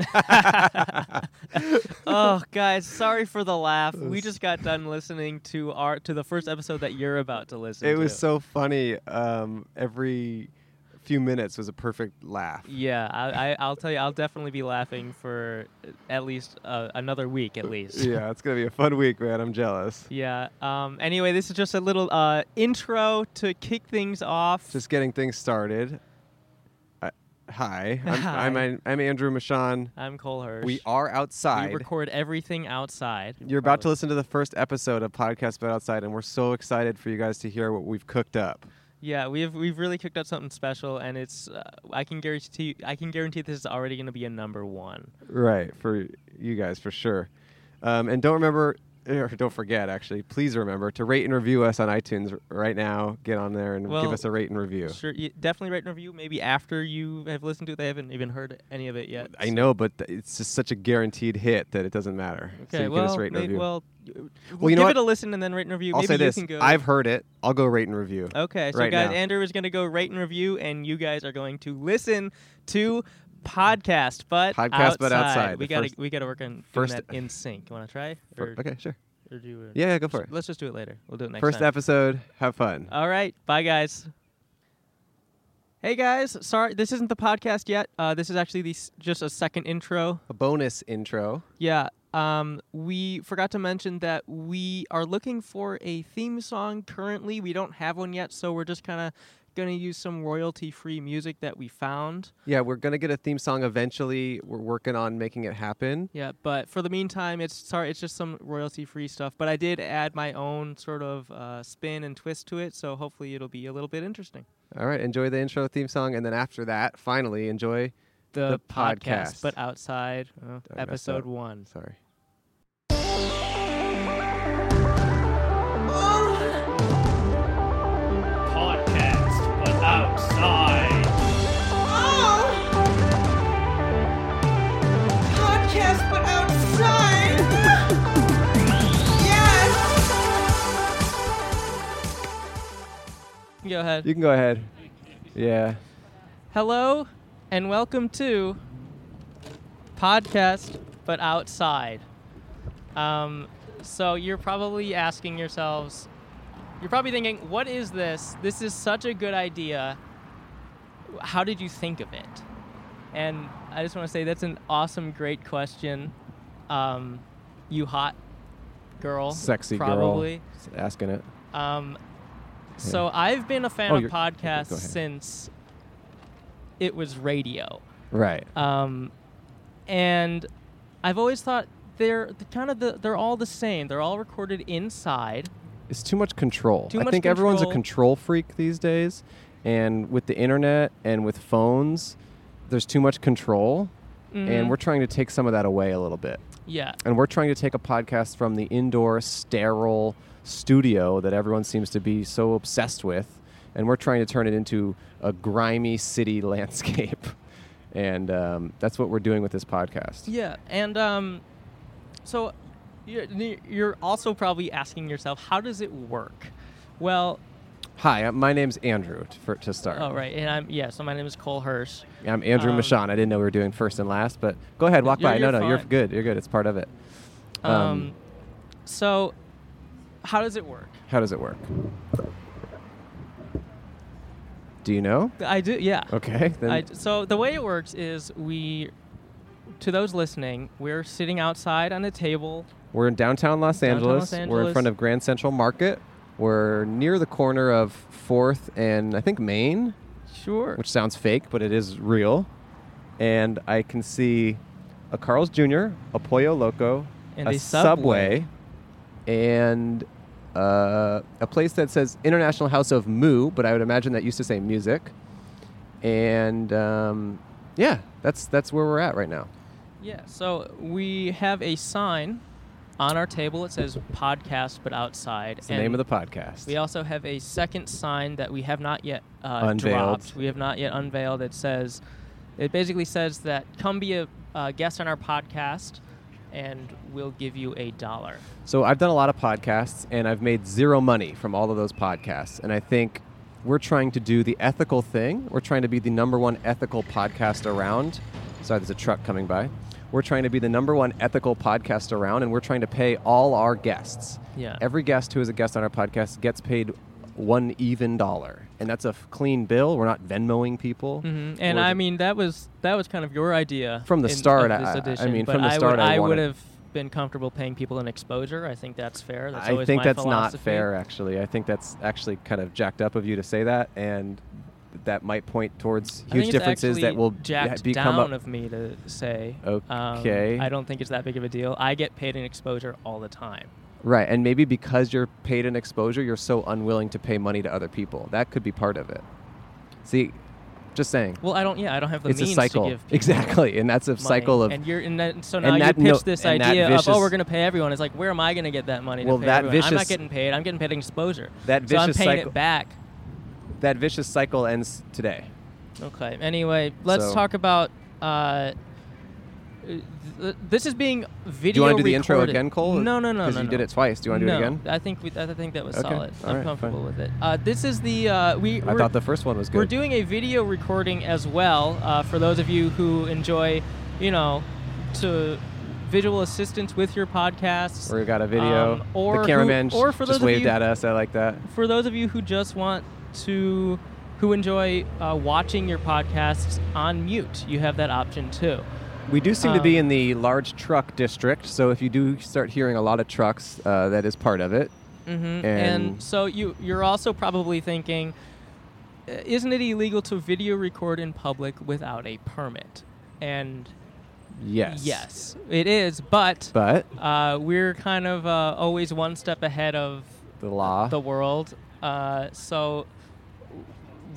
oh, guys, sorry for the laugh. We just got done listening to our to the first episode that you're about to listen. It was to. so funny. Um, every few minutes was a perfect laugh. Yeah, I, I, I'll tell you, I'll definitely be laughing for at least uh, another week, at least. Yeah, it's gonna be a fun week, man. I'm jealous. Yeah. Um, anyway, this is just a little uh, intro to kick things off. Just getting things started. I, hi, I'm, Hi. I'm, I'm, Andrew Michon. I'm Cole Hirsch. We are We outside. record Oh. everything outside. You're about to listen to the first episode of Podcast About Outside, and we're so excited for you guys to hear what we've cooked up. Yeah, we've we've really cooked up something special, and it's uh, I can guarantee I can guarantee this is already going to be a number one. Right, for you guys, for sure. Um, and don't remember, eh, or don't forget, actually, please remember to rate and review us on iTunes r- right now. Get on there and give Well, us a rate and review. Sure, you definitely write a review. Maybe after you have listened to it, they haven't even heard any of it yet. I know, but th- it's just such a guaranteed hit that it doesn't matter. Okay, so you well, can just rate and may- review. well, y- you know give what? it a listen and then rate and review. I'll Maybe say you this: can go. I've heard it. I'll go rate and review. Okay, so right guys, now. Andrew is going to go rate and review, and you guys are going to listen to podcast, but Podcast, outside. but outside, We the gotta first- we gotta work on doing first- that in sync. You want to try? For- Or, okay, sure. or do you- Yeah, yeah, go for it. Let's just do it later. We'll do it next First time. Uh, episode. Have fun. All right, bye guys. Hey guys, sorry this isn't the podcast yet. Uh, this is actually the, s- just a second intro. a bonus intro. Yeah. Um, we forgot to mention that we are looking for a theme song currently. We don't have one yet, so we're just kind of going to use some royalty free music that we found. Yeah, we're gonna get a theme song eventually. We're working on making it happen. Yeah, but for the meantime, it's sorry, it's just some royalty free stuff. But I did add my own sort of uh, spin and twist to it, so hopefully it'll be a little bit interesting. All right, enjoy the intro theme song, and then after that, finally enjoy. The podcast. but outside, uh, up. episode one. Sorry. podcast, but outside. Oh! Podcast, but outside! yes! Go ahead. You can go ahead. Yeah. Hello and welcome to podcast but outside. Um, so you're probably asking yourselves, you're probably thinking, what is this? This is such a good idea. How did you think of it? And I just want to say that's an awesome, great question. Um, you hot girl, Sexy probably. girl. S- Asking it. Um, so I've been a fan Oh, of you're- okay, podcasts go ahead. since it was radio, Right. um, and I've always thought they're the, kind of the, they're all the same. They're all recorded inside. It's too much control. Too I much think everyone's a control. control freak these days, and with the internet and with phones, there's too much control, Mhm. and we're trying to take some of that away a little bit. yeah, And we're trying to take a podcast from the indoor, sterile studio that everyone seems to be so obsessed with, and we're trying to turn it into a grimy city landscape. And um, that's what we're doing with this podcast. yeah, and um, so you're, you're also probably asking yourself, how does it work? Well, Hi, uh, my name's Andrew. t- for, to start, oh right, and I'm yeah. So my name is Cole Hirsch. I'm Andrew Um, Michon. I didn't know we were doing first and last, but go ahead, walk You're- by. you're no, no, you're fine. good. You're good. It's part of it. Um, Um, so how does it work? How does it work? Do you know? I do, yeah. Okay, then I, so the way it works is we, to those listening, we're sitting outside on a table. We're in downtown Los Downtown Angeles. Los We're in Angeles. front of Grand Central Market. We're near the corner of Fourth and I think Main, Sure. which sounds fake, but it is real. And I can see a Carl's Jr., a Pollo Loco, And a a Subway. and uh, a place that says International House of Moo, but I would imagine that used to say music. And um, yeah, that's that's where we're at right now. yeah. So we have a sign on our table. It says "Podcast, but outside." It's the name of the podcast. We also have a second sign that we have not yet uh, Unveiled. dropped. We have not yet unveiled. It says, it basically says that come be a uh, guest on our podcast, and we'll give you a dollar. So I've done a lot of podcasts and I've made zero money from all of those podcasts. And I think we're trying to do the ethical thing. We're trying to be the number one ethical podcast around. Sorry, there's a truck coming by. We're trying to be the number one ethical podcast around, and we're trying to pay all our guests. Yeah. Every guest who is a guest on our podcast gets paid one even dollar, and that's a f- clean bill. We're not Venmoing people. Mhm. And We're- I mean, that was that was kind of your idea From the in- start, Of this I- I edition, mean, but from the start, would, I would wanted- have been comfortable paying people an exposure. I think that's fair. That's I always think my that's philosophy. not fair, actually. I think that's actually kind of jacked up of you to say that, and that might point towards I think huge it's differences that actually will jacked be- become down a, of me to say. Okay. Um, I don't think it's that big of a deal. I get paid an exposure all the time. right. And maybe because you're paid an exposure, you're so unwilling to pay money to other people. That could be part of it. See, just saying, Well, I don't. Yeah, I don't have the it's a means cycle. to give. people Exactly, and that's a money. cycle of and you're and then, so and now you that pitch no- this and that idea of vicious- oh we're gonna pay everyone. It's like where am I gonna get that money? Well, to pay that everyone? I'm vicious- not getting paid. I'm getting paid exposure. That so I'm vicious paying cycle- it back. that vicious cycle ends today. Okay. Anyway, let's So- talk about. Uh, th- th- this is being video. Do you want to do the intro again, Cole? No, no, no, Because no, you no. did it twice. Do you want to no, do it again? I think we, I think that was Okay, solid. all I'm right, comfortable fine. with it. Uh, this is the uh, we. I we're- thought the first one was good. We're doing a video recording as well uh, for those of you who enjoy, you know, to visual assistance with your podcasts. We got a video. Um, or the who- cameraman sh- or for just those of waved you- at us. I like that. for those of you who just want to who enjoy uh, watching your podcasts on mute, you have that option too. We do seem to be Um, in the large truck district, so if you do start hearing a lot of trucks, uh, that is part of it. hmm And, And- so you you're also probably thinking, "Uh, isn't it illegal to video record in public without a permit? And Yes. yes, it is, but But uh, we're kind of uh, always one step ahead of the law. the world. Uh, so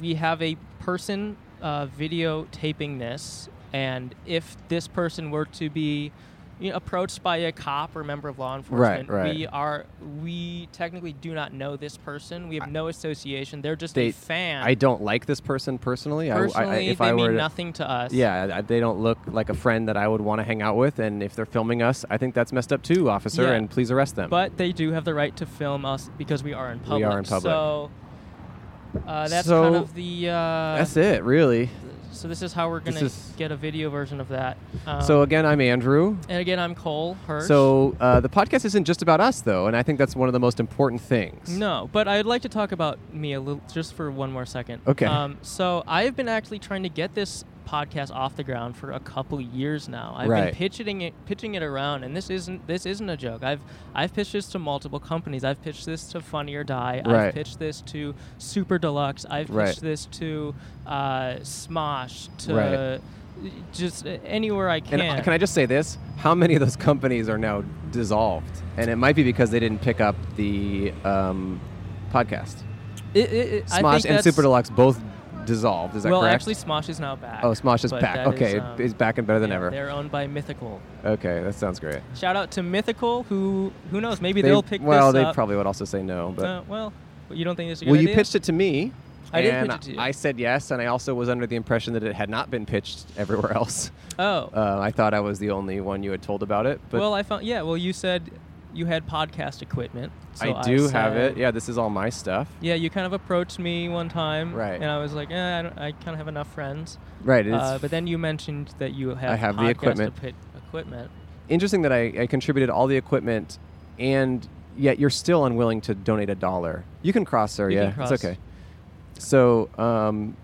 we have a person uh, videotaping this, and if this person were to be you know, approached by a cop or member of law enforcement, right. we are we technically do not know this person. We have no association. They're just They- a fan. I don't like this person personally. I- I- I- Personally, if they I mean were, to- nothing to us. Yeah, I- they don't look like a friend that I would want to hang out with, and if they're filming us, I think that's messed up too, officer, Yeah. and please arrest them. But they do have the right to film us because we are in public. We are in public. So uh, that's So kind of the. Uh, that's it, really. So this is how we're This gonna is- get a video version of that. Um, so again, I'm Andrew. and again, I'm Cole Hirsch. So uh, the podcast isn't just about us, though, and I think that's one of the most important things. no, but I'd like to talk about me a little just for one more second. Okay. Um, so I've been actually trying to get this podcast off the ground for a couple years now. I've Right. been pitching it, pitching it around, and this isn't this isn't a joke. I've I've pitched this to multiple companies. I've pitched this to Funny or Die. Right. I've pitched this to Super Deluxe. I've pitched Right. this to uh, Smosh. To Right. just anywhere I can. And uh, can I just say this? How many of those companies are now dissolved? And it might be because they didn't pick up the um, podcast. It, it, it, I Smosh think and that's- Super Deluxe both dissolved. Is that well, correct? actually, Smosh is now back. oh, Smosh is but back. that Okay, um, it's back and better than yeah, ever. They're owned by Mythical. Okay, that sounds great. Shout out to Mythical, who who knows? Maybe they, will pick well, this they up. probably would also say no. But Uh, well, but you don't think this is a good well, you idea? pitched it to me. I did and pitch it to you. I said yes, and I also was under the impression that it had not been pitched everywhere else. Oh, Uh, I thought I was the only one you had told about it, but well, I found. Yeah, well, you said you had podcast equipment. So I do have said- it. Yeah, this is all my stuff. Yeah, you kind of approached me one time, Right. And I was like, eh, I, don't, I kind of have enough friends. Right. It's Uh, but then you mentioned that you have. I have the podcast equipment. epi- equipment. interesting that I, I contributed all the equipment and yet you're still unwilling to donate a dollar. You can cross, sir. You yeah, can cross. it's okay. So, um,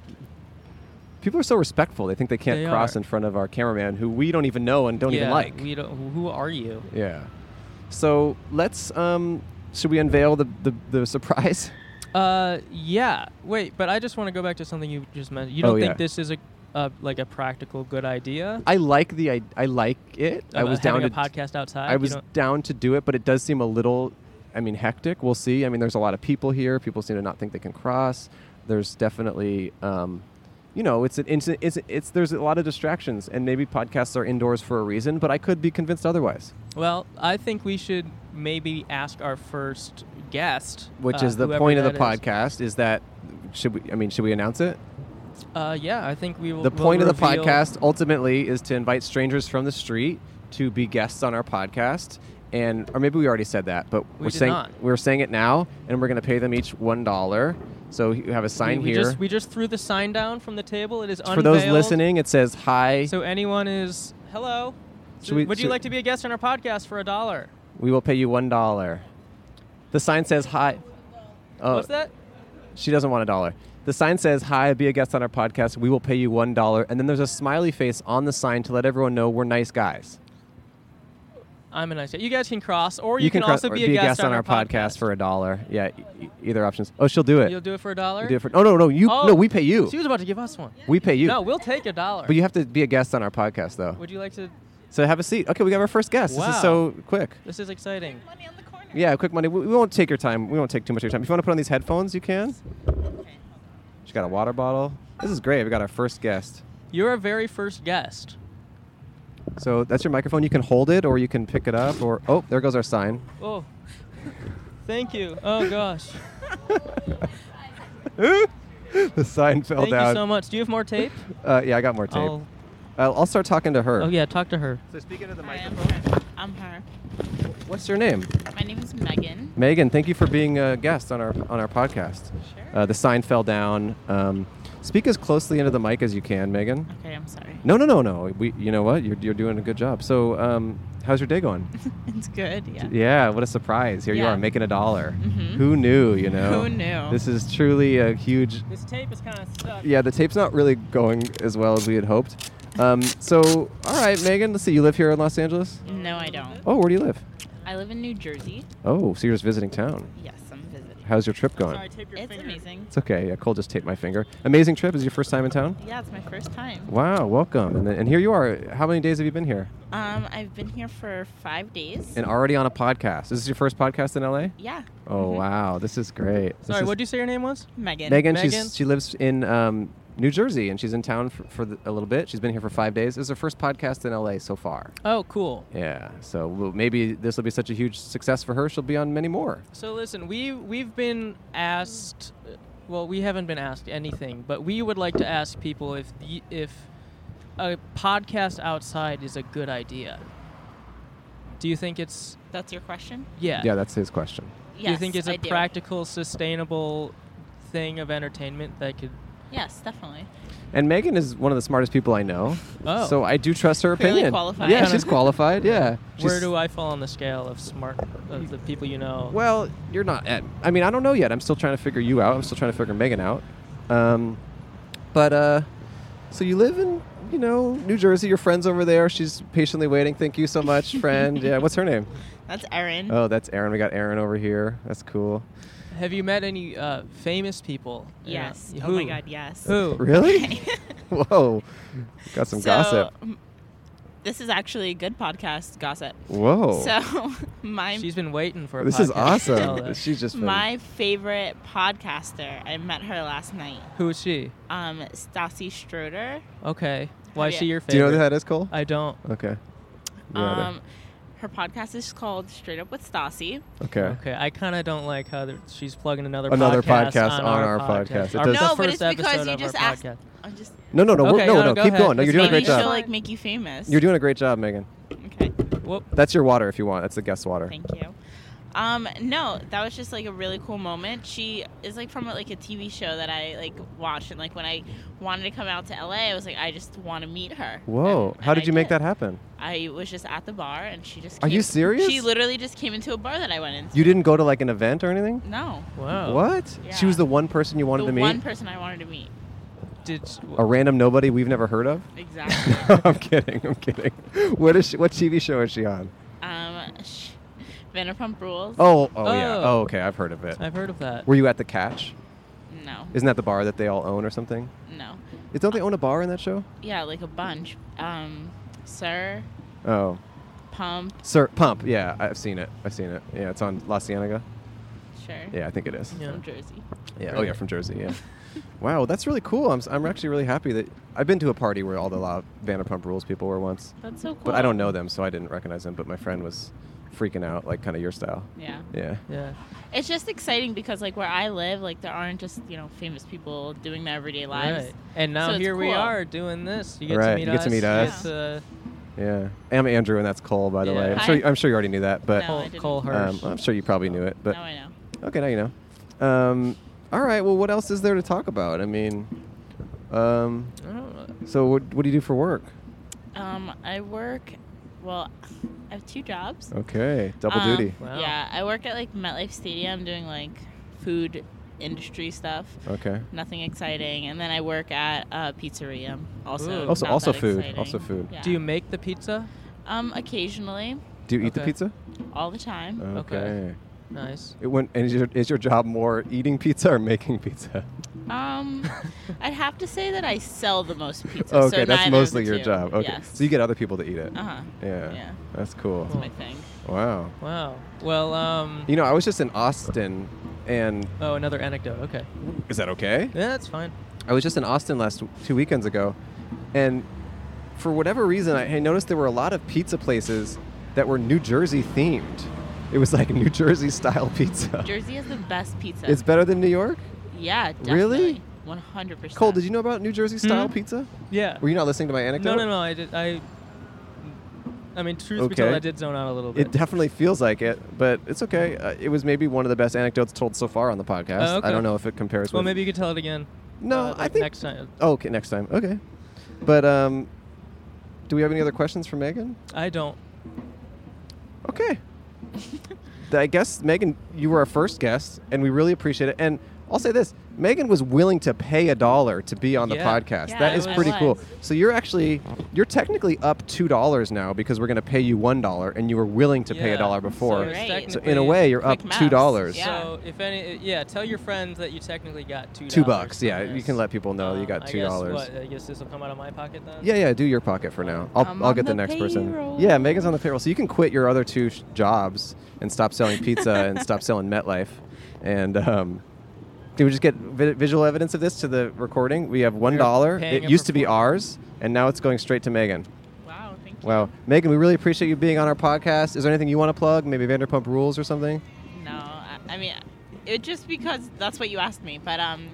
people are so respectful. They think they can't They cross are. in front of our cameraman who we don't even know and don't yeah, even like. We don't, who are you? yeah. So, let's, um, should we unveil the, the, the surprise? Uh, yeah. Wait, but I just want to go back to something you just mentioned. You Oh, don't yeah. think this is a uh, like a practical good idea? I like the, I, I like it. I About was down having to, a podcast outside. I You was don't- down to do it, but it does seem a little, I mean, hectic. We'll see. I mean, there's a lot of people here. People seem to not think they can cross. There's definitely, um, you know, it's an instant, it's, it's, there's a lot of distractions, and maybe podcasts are indoors for a reason, but I could be convinced otherwise. well, I think we should maybe ask our first guest, Which uh, is the whoever point of the that is. podcast is that, should we, I mean, should we announce it? Uh, yeah, I think we will. The we'll point of the reveal- podcast ultimately is to invite strangers from the street to be guests on our podcast. And or maybe we already said that, but We are did saying not. we're saying it now, and we're going to pay them each one dollar. So you have a We, sign we here just we just threw the sign down from the table. It is for those unveiled. listening. It says hi. So anyone is hello. Should we- Would you should- like to be a guest on our podcast for a dollar? We will pay you one dollar. The sign says hi. Oh, What's that? She doesn't want a dollar. The sign says hi. Be a guest on our podcast. We will pay you one dollar. And then there's a smiley face on the sign to let everyone know we're nice guys. I'm a nice guy. You guys can cross, or you, you can, cross- also or be a, guest, on our podcast, for a dollar. Yeah, e- e- either options. Oh, she'll do it. You'll do it for a dollar. You do it for- oh no, no, you Oh, no, we pay you. She was about to give us one. We pay you. No, we'll take a dollar. but you have to be a guest on our podcast though. Would you like to? So have a seat. Okay, we got our first guest. This Wow. is so quick. This is exciting. Money on the corner. Yeah, quick money. We, we won't take your time. We won't take too much of your time. If you want to put on these headphones, you can. She got a water bottle. This is great. We got our first guest. You're our very first guest. So that's your microphone. You can hold it, or you can pick it up, or oh, there goes our sign. Oh, thank you. Oh gosh. the sign fell thank down. you so much. Do you have more tape? Uh, yeah, I got more tape. I'll, I'll- I'll start talking to her. Oh yeah, talk to her. So speaking to the Hi, I'm her. I'm her. What's your name? My name is Megan. Megan, thank you for being a guest on our on our podcast. Sure. Uh, the sign fell down. Um, speak as closely into the mic as you can, Megan. Okay, I'm sorry. No, no, no, no. We, you know what? You're, you're doing a good job. So, um, how's your day going? It's good. Yeah. yeah, what a surprise! Here you Yeah. are making a dollar. Mhm. Who knew? You know. Who knew? This is truly a huge. This tape is kind of stuck. Yeah, the tape's not really going as well as we had hoped. Um, so, all right, Megan. Let's see. You live here in Los Angeles. No, I don't. Oh, where do you live? I live in New Jersey. Oh, so you're just visiting town. Yes, I'm visiting. How's your trip going? tape It's amazing. It's okay. Yeah, Cole just taped my finger. Amazing trip. Is it your first time in town? Yeah, it's my first time. Wow, welcome. And, and here you are. How many days have you been here? Um, I've been here for five days. And already on a podcast. Is this your first podcast in LA? yeah, Oh wow, this is great. This Mm-hmm. Sorry, is- what would you say your name was? Megan. Megan, Megan? she's she lives in um, New Jersey and she's in town for, for the, a little bit. She's been here for five days. This is her first podcast in LA so far. Oh, cool. Yeah, so we'll, maybe this will be such a huge success for her. She'll be on many more. So listen, we we've been asked. Well, we haven't been asked anything, but we would like to ask people if y- if a podcast outside is a good idea. Do you think it's That's your question. yeah? Yeah, that's his question. Yes, Do you think it's a I do. practical, sustainable thing of entertainment that could? Yes, definitely. And Megan is one of the smartest people I know. Oh. So I do trust her Clearly opinion. qualified. Yeah, she's qualified. Yeah. Where do I fall on the scale of smart of the people you know? Well, you're not. At, I mean, I don't know yet. I'm still trying to figure you out. I'm still trying to figure Megan out. Um, but uh, so you live in, you know, New Jersey. Your friend's over there. She's patiently waiting. Thank you so much, friend. yeah. What's her name? That's Erin. Oh, that's Aaron. We got Aaron over here. That's cool. Have you met any uh, famous people? You know, yes. who? Oh my God. Yes. Who? Really? Whoa. Got some gossip. m- This is actually a good podcast gossip. Whoa. So my She's been waiting for. A this is podcast to tell awesome. us. She's just been- my favorite podcaster. I met her last night. Who is she? Um, Stassi Stroder. Okay. Why is yeah. she your favorite? Do you know who that is, Cole? I don't. okay. Yeah, there. Um, her podcast is called Straight Up with Stassi. okay. Okay. I kind of don't like how that she's plugging another Another podcast, podcast on, on our, our podcast. It Our does- the No, but first it's because episode you of just our asked. podcast. I'm just No, no, no. we're- Okay, no, no, no, go Keep ahead. going. No, you're It's doing a fine. great maybe job. she'll job. like make you famous. You're doing a great job, Megan. okay. Whoop. That's your water if you want. That's the guest water. Thank you. Um, no, that was just like a really cool moment. She is like from like a TV show that I like watched, and like when I wanted to come out to LA, I was like, I just want to meet her. Whoa! And- How and did I you make that happen? I was just at the bar, and she just. Are came- you serious? She literally just came into a bar that I went into. You didn't go to like an event or anything? no, Wow. What? She Yeah. was the one person you wanted the to meet? one person I wanted to meet. Did she- a random nobody we've never heard of? Exactly. I'm kidding. I'm kidding. What is she, what TV show is she on? um, sh- Vanderpump Rules. Oh, oh, yeah. Oh. Oh, okay. I've heard of it. I've heard of that. Were you at the Catch? No, Isn't that the bar that they all own or something? no. Is- Don't they own a bar in that show? Yeah, like a bunch. Um, Sir, Oh, Pump, Sir Pump. Yeah, I've seen it. I've seen it. Yeah, it's on La Cienega. sure. Yeah, I think it is. Yeah. From Jersey. Yeah. Oh yeah, from Jersey. Yeah. wow, that's really cool. I'm, s- I'm actually really happy that I've been to a party where all the La Vanderpump Rules people were once, That's so cool. but I don't know them, so I didn't recognize them. But my friend was freaking out, like kind of your style. Yeah. Yeah. Yeah. It's just exciting because like where I live, like there aren't just you know famous people doing their everyday lives. Right. And now So it's here we cool. are doing this. You get Right, to meet you us. uh, get to meet us. You get to Yeah. I'm Andrew, and that's Cole, by the way. Yeah. I'm Hi. sure, you, I'm sure you already knew that, but No, I Cole, didn't. Cole um, Hirsch. I'm sure you probably knew it. But now I know. okay, now you know. Um, all right. Well, what else is there to talk about? I mean, um, I don't know. so what, what do you do for work? Um, I work Well, I have two jobs. Okay, Oh, double Um, duty. Wow. Yeah, I work at like MetLife Stadium doing like food industry stuff. Okay. Nothing exciting. And then I work at a pizzeria. Also, Ooh. Also- not also that food. exciting. Also food. Yeah. Do you make the pizza? Um, occasionally, Do you eat the Okay. pizza? all the time. Okay. Nice. It went, and is your, is your job more eating pizza or making pizza? Um, I'd have to say that I sell the most pizza. okay, so neither that's of mostly the your two. job. Okay. Yes. So you get other people to eat it. Uh huh. Yeah. yeah. That's cool. That's my thing. Wow. Wow. Well, um, You know, I was just in Austin and oh, another anecdote. Okay. is that okay? Yeah, that's fine. I was just in Austin last two weekends ago, and for whatever reason, I, I noticed there were a lot of pizza places that were New Jersey themed. It was like New Jersey style pizza. Jersey has the best pizza. It's better than New York. yeah, definitely. Really? One hundred percent. Cole, did you know about New Jersey style Hmm? Mhm. pizza? Yeah. Were you not listening to my No, anecdote? no, no. I did. I. I mean, truth be told, Okay. I did zone out a little bit. It definitely feels like it, but it's okay. Uh, it was maybe one of the best anecdotes told so far on the podcast. Oh, okay. I don't know if it compares well, with maybe you could tell it again. No, uh, I like think- next time. Oh, okay, next time. Okay. But um, do we have any other questions for Megan? I don't. Okay. Th- I guess Megan, you were our first guest, and we really appreciate it. And I'll say this: Megan was willing to pay a dollar to be on the Yeah. podcast. Yeah, that I is was. pretty I cool. was. So you're actually you're technically up two dollars now because we're going to pay you one dollar, and you were willing to pay Yeah. a dollar So, before. it's Right. So, in a way, you're up Quick maths. two dollars. Yeah. So if any, yeah, tell your friends that you technically got two. Two dollars bucks. from Yeah, you this. can let people know you Um, got I two guess dollars. what, I guess this will come out of my pocket then. Yeah, yeah, do your pocket for now. I'll, I'm I'll on get the, the next person. payroll. Yeah, Megan's on the payroll. So you can quit your other two sh- jobs and stop selling pizza and stop selling MetLife. And um, did we just get vi- visual evidence of this to the recording? We have $1. dollar. paying It it used for to be four. ours, and now it's going straight to Megan. Wow. Thank you. Wow. Megan, we really appreciate you being on our podcast. Is there anything you want to plug? Maybe Vanderpump Rules or something? No, I, I mean, it just because that's what you asked me. But um,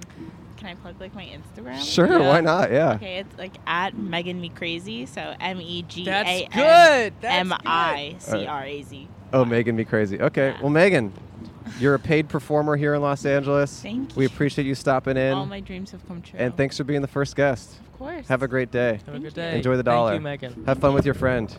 can I plug like my Instagram? Sure, Yeah. why not? Yeah. Okay, it's like at Megan Me Crazy. So M E G That's A N good. That's M good. I C R A Z. Oh, Megan, be crazy. Okay. Yeah. Well, Megan, you're a paid performer here in Los Angeles. Thank We you. appreciate you stopping in. All my dreams have come true. and thanks for being the first guest. Of course. Have a great day. Have a Thank good you. day. Enjoy the dollar. Thank you, Megan. Have fun with your friend.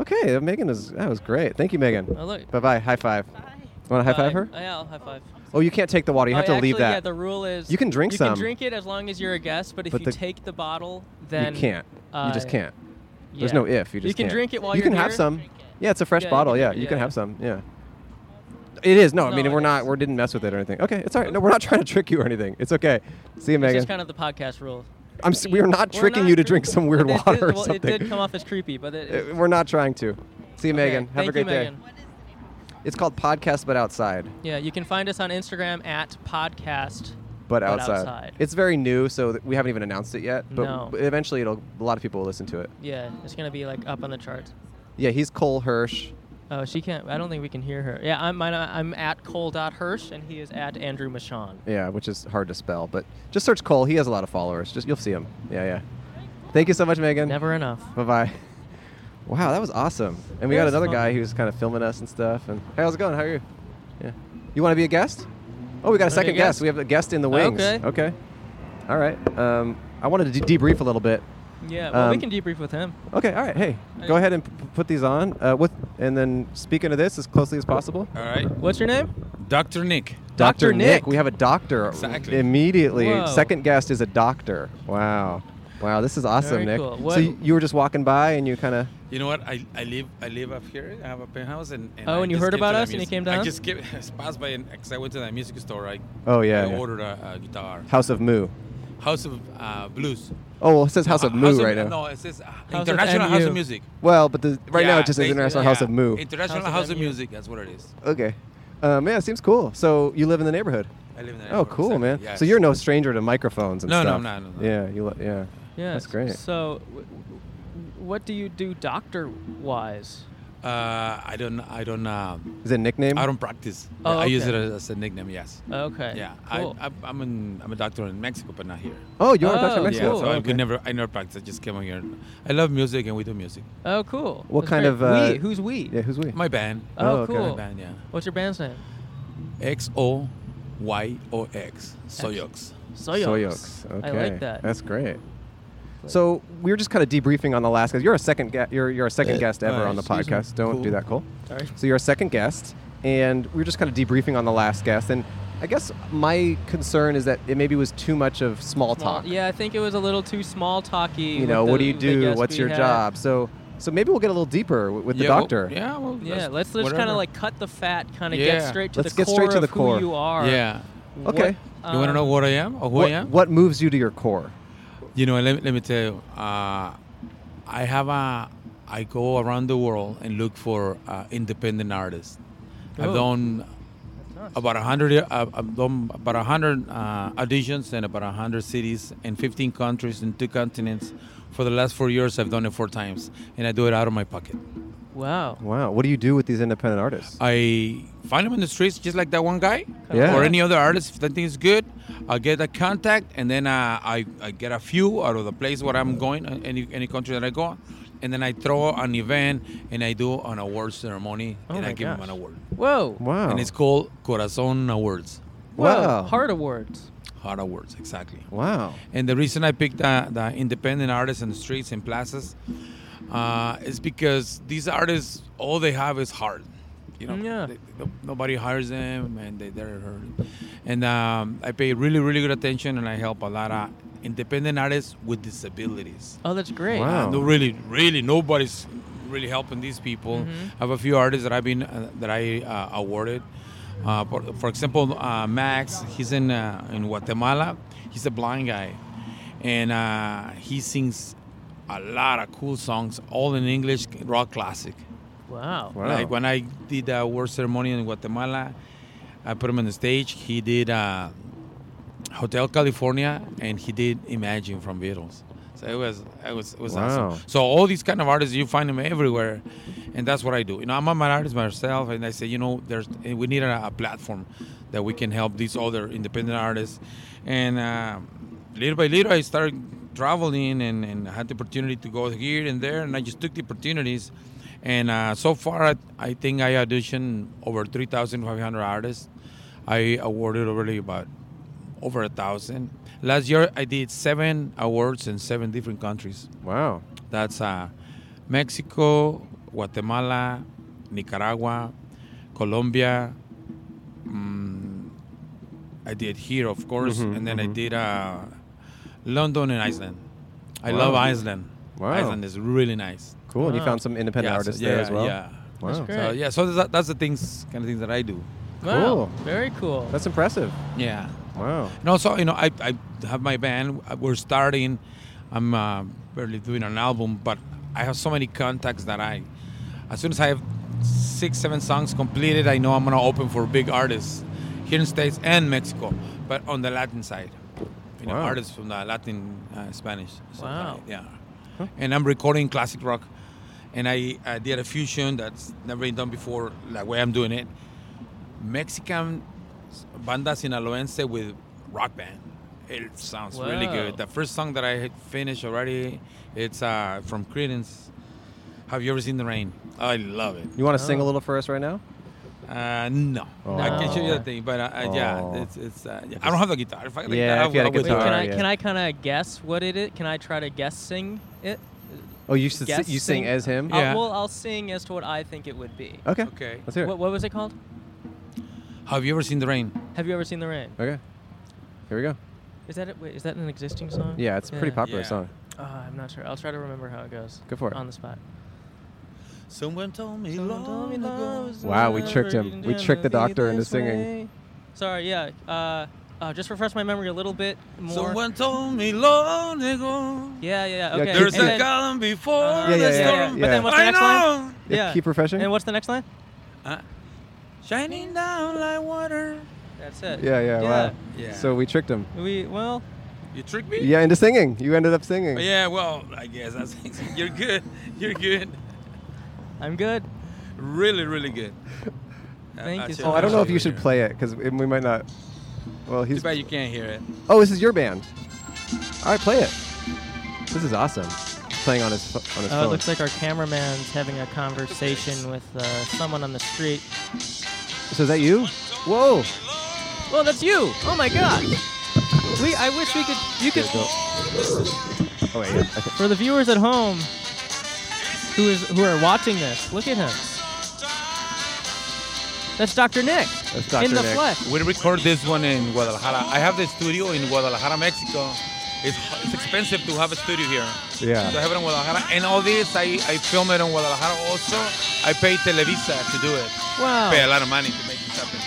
Okay, uh, Megan is that was great. Thank you, Megan. Oh, look. Bye bye. High five. Bye. Want to high Bye. five her? Oh, yeah, I'll high five. Oh, you can't take the water. You have Oh, to yeah, leave actually, Yeah, that. the rule is You can drink you some. can drink it as long as you're a guest, but if But you the- take the bottle, then you can't. you just uh, can't. There's yeah. no if. You just you can can't. drink it while you you're can have here. some. Drink it. Yeah, it's a fresh Yeah, you can bottle. drink yeah, it, you yeah, can yeah. have some. Yeah. It is no. I No, mean, it we're not. is. We didn't mess with it or anything. Okay, it's all right. No, we're not trying to trick you or anything. It's okay. See you, It's Megan. just kind of the podcast rule. I'm. s- We are not We're tricking not you to drink drinking- some weird it did- water or well, something. It did come off as creepy, but it, Uh, We're not trying to. See you, Okay, Megan. Have thank a you, great day. Megan. It's called Podcast But Outside. Yeah, you can find us on Instagram at podcast. But But outside. outside. It's very new, so th- we haven't even announced it yet. But No. but eventually, it'll. A lot of people will listen to it. Yeah, it's gonna be like up on the charts. Yeah, he's Cole Hirsch. Oh, she can't. I don't think we can hear her. Yeah, I'm. mine- I'm at Cole.Hirsch, and he is at Andrew Michon. Yeah, which is hard to spell, but just search Cole. He has a lot of followers. Just you'll see him. Yeah, yeah. Thank you so much, Megan. Never enough. Bye bye. Wow, that was awesome. And we That got was another fun. guy who's kind of filming us and stuff. And hey, how's it going? How are you? Yeah. You want to be a guest? Oh, we Wanna got a be second a guest. guest? We have a guest in the wings. Okay. Okay. All right. Um, I wanted to de- debrief a little bit. Yeah, well, we Um, can debrief with him. Okay. All right. Hey, go Hey. ahead and p- p- put these on. Uh, what? And then speak into this as closely as possible. All right, What's your name? Dr. Nick. Dr. Nick. We have a doctor Exactly. immediately. Whoa. Second guest is a doctor. Wow. Wow, this is Very awesome, Nick. cool. So What- you, you were just walking by and you kind of. You know what? I, I live I live up here. I have a penthouse, and, and Oh, I and you just heard came about to the us and you music- came I down? just came, passed by, and because I went to the music store, I Oh yeah. I yeah. ordered a, a guitar. House of Moo. House of uh, Blues. Oh, well, it says House of Uh, Moo right now. No, it says uh, of International House MU. of Music. Well, but the, right now Yeah, it just says they- International yeah, House of Moo. International House of House, of MU. Music. That's what it is. okay. Um, yeah, it seems cool. So you live in the neighborhood. I live in that Oh, cool, man. So yes. you're no stranger to microphones and No, no, stuff. no, no, no. Yeah, you. Lo- yeah. Yeah, That's great. So, w- w- what do you do doctor-wise? Uh, I don't. I don't. Uh, Is it a nickname? I don't practice. Oh, I use it okay. as, as a nickname. Yes. Okay. Yeah. Cool. I, I, I'm an, I'm a doctor in Mexico, but not here. Oh, you are Dr. Oh, Mexico. Yeah, cool. so I okay. could never, I never practiced. I just came on here. I love music and we do music. oh, cool. What That's kind great. of, uh, we? Who's we? Yeah, who's we? My band, Oh, Oh, okay. cool. my band, yeah. What's your band's name? X O Y O X, Soyox. Soyox. Soyox. Okay. I like that. That's great. So we were just kind of debriefing on the last guest. You're a second guest. You're, you're a second Uh, guest ever uh, on the excuse me. podcast. Don't Cool. do that, Cole. Sorry. So you're a second guest, and we were just kind of debriefing on the last guest. And I guess my concern is that it maybe was too much of small, Small- talk. Yeah, I think it was a little too small talky. You know, what do you do? What's your job? So so maybe we'll get a little deeper w- with the Yeah, well, doctor. yeah, well, Yeah, that's- let's just kind whatever. of like cut the fat, kind of get Yeah. straight to Let's the get core straight to of the core. who you are. Yeah. Okay. What, you want to know um, what I am or who I What, am? what moves you to your core? You know, let, me- let me tell you. Uh, I have a. I go around the world and look for uh, independent artists. Oh. I've done about a hundred. uh, I've done about a hundred uh, auditions in about a hundred cities in 15 countries in two continents. For the last four years, I've done it four times, and I do it out of my pocket. Wow. Wow. What do you do with these independent Uh, artists? I find them in the streets, just like that one guy, Yeah. or any other artist. If that thing is good, I get a contact, and then uh, I I get a few out of the place where I'm going, uh, any any country that I go, and then I throw an event and I do an award ceremony, Oh and I my give them gosh. an award, Whoa. wow. and it's called Corazon Awards, Whoa. Wow. Heart awards. Hard Awards, exactly. wow. And the reason I picked the, the independent artists in the streets and plazas uh, is because these artists, all they have is heart. You know, Yeah. they, no- nobody hires them, and they, they're hurt. And um, I pay really, really good attention, and I help a lot of independent artists with disabilities. Oh, that's great. Wow. Uh, no, really, really, nobody's really helping these people. Mm-hmm. I have a few artists that I've been uh, that I uh, awarded. Uh, for, for example, uh, Max, he's in uh, in Guatemala. He's a blind guy, and uh, he sings a lot of cool songs, all in English, rock classic. Wow. Wow. Like when I did the award ceremony in Guatemala, I put him on the stage. He did uh, Hotel California, and he did Imagine from Beatles. So it was, it was, it was Wow. awesome. So all these kind of artists, you find them everywhere, and that's what I do. You know, I'm an artist myself, and I say, you know, there's eh, we need a, a platform that we can help these other independent artists, and uh, little by little, I started traveling and, and I had the opportunity to go here and there, and I just took the opportunities. And uh, so far, I, I think I auditioned over 3,500 artists. I awarded already about over a thousand. Last year, I did seven awards in seven different countries. Wow. That's uh, Mexico, Guatemala, Nicaragua, Colombia. Mm, I did here, of course, Mhm, and then I mhm. did uh, London and Iceland. I Wow. love Iceland. Wow. Iceland is really nice. Cool. And you Wow. found some independent Ah, Yeah, so- artists there yeah, as well. Yeah. Wow. That's great. So yeah, so that, that's the things, kind of things that I do. Wow. Cool. Very cool. That's impressive. Yeah. Wow. And also, you know, I, I have my band. We're starting. I'm uh, barely doing an album, but I have so many contacts that I, as soon as I have six, seven songs completed, I know I'm gonna open for big artists here in States and Mexico, but on the Latin side, you know, Wow. artists from the Latin uh, Spanish. So, Wow. Yeah. And I'm recording classic rock, and I, I did a fusion that's never been done before, like way I'm doing it. Mexican banda sinaloense with rock band. It sounds really Wow. good. The first song that I had finished already, it's uh, from Credence. Have you ever seen the rain? I love it. You want to sing Oh. a little for us right now? Uh, no, Oh. I can show you No. that thing, but uh, uh, Oh. yeah, it's it's. Uh, yeah. I don't have the guitar. If I had the Yeah, guitar, if you had I a would Wait, guitar, can do I it. yeah. can I kind of guess what it is? Can I try to guess sing it? Oh, you should si- Guess you sing sing- as him. I'll- Yeah. well, I'll sing as to what I think it would be. Okay. Okay. Let's hear it. What, what was it called? Have you ever seen the rain? Have you ever seen the rain? Okay. Here we go. Is that it? Wait, is that an existing song? Yeah, it's a pretty popular Yeah. song. Uh, I'm not sure. I'll try to remember how it goes. Go for it. On the spot. Someone told me Wow, we tricked him. We tricked the doctor into singing. Sorry, yeah. Uh, uh, just refresh my memory a little bit more. Someone told me long ago. Yeah, yeah, Yeah, okay. keep- There's and a then, column before Yeah, the yeah, yeah, storm. yeah. But then what's the I next know. line? Yeah, yeah. keep refreshing. And what's the next line? Uh, shining down like water. That's it. yeah, yeah, Yeah. wow. So we tricked him. We well, you tricked me. Yeah, into singing. You ended up singing. Oh, yeah. Well, I guess that's, you're good. You're good. I'm good. Really, really good. I- Thank I'll you show so Oh, I don't Yeah. know I'll if show you should later. play it because we might not. Well, Too he's. bad you can't hear it. Oh, this is your band. All right, play it. This is awesome. He's playing on his pho- on his Oh, it phone. looks like our cameraman's having a conversation with uh, someone on the street. so is that you? Whoa. Well, that's you. Oh my god. We I wish we could you could Here, go. Oh, wait, yeah. For the viewers at home who is who are watching this, look at him. That's Dr. Nick That's Dr. in the Nick. flesh. We record this one in Guadalajara. I have the studio in Guadalajara, Mexico. It's, it's expensive to have a studio here. Yeah. So I have it in Guadalajara. And all this, I, I film it in Guadalajara also. I pay Televisa to do it. Wow. Pay a lot of money to make this happen.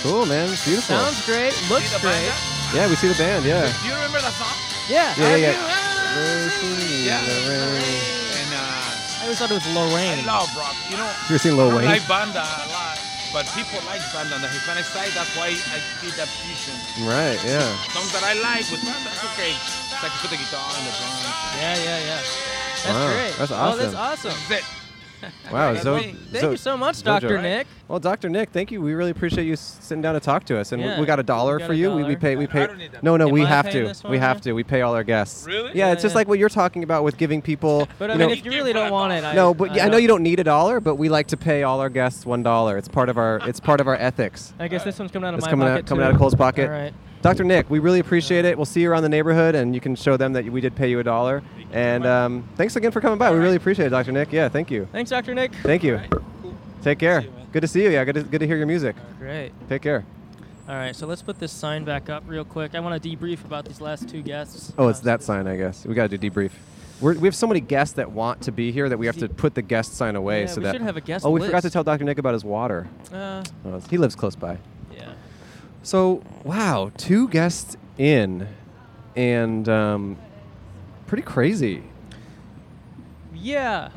Cool, man. It's beautiful. Sounds great. See Looks the great. banda? yeah, we see the band. Yeah. Do you remember the song? Yeah. Yeah, yeah, yeah. Yeah. And I uh, always thought it was I Lorraine. love rock. You know, You ever seen Lil I Wayne? like banda a lot, but people like banda on the Hispanic side. That's why I did that fusion. Right. Yeah. Songs that I like with banda, it's okay. It's like put the guitar and the drums. Yeah, yeah, yeah. That's Wow, great. that's Oh, that's awesome. awesome. That's it. Wow. That's So, right. Thank you so much, Jojo, Dr. right? Nick. Well, Dr. Nick, thank you. We really appreciate you s- sitting down to talk to us, and we- Yeah, we, got a dollar we got for a you. We, we dollar. pay. We I pay. don't need that. No, no, Am we I have paying to. this we one, have man? to. We pay all our guests. Really? Yeah, Yeah, it's just yeah. like what you're talking about with giving people. But I you mean, know, if you really don't want it, I, no, but yeah, I know don't- you don't need a dollar, but we like to pay all our guests one dollar. It's part of our. It's part of our ethics. I guess this one's coming out of It's my coming pocket out coming too. out of Cole's pocket. All right. Dr. Nick, we really appreciate it. We'll see you around the neighborhood, and you can show them that we did pay you a dollar. And um, thanks again for coming by. We really appreciate it, Dr. Nick. Yeah, thank you. Thanks, Dr. Nick. Thank you. Take care. see you, man. good to see you. Yeah, good to, good to hear your music. Great. Take care. All right, so let's put this sign back up real quick. I want to debrief about these last two guests. Oh, it's Uh, that sign, I guess. We got to do debrief. We're, we have so many guests that want to be here that we have to put the guest sign away Yeah, so we that. should have a guest oh, we forgot list. to tell Dr. Nick about his water. Uh, Oh, he lives close by. yeah. So wow, two guests in, and um, pretty crazy. Yeah,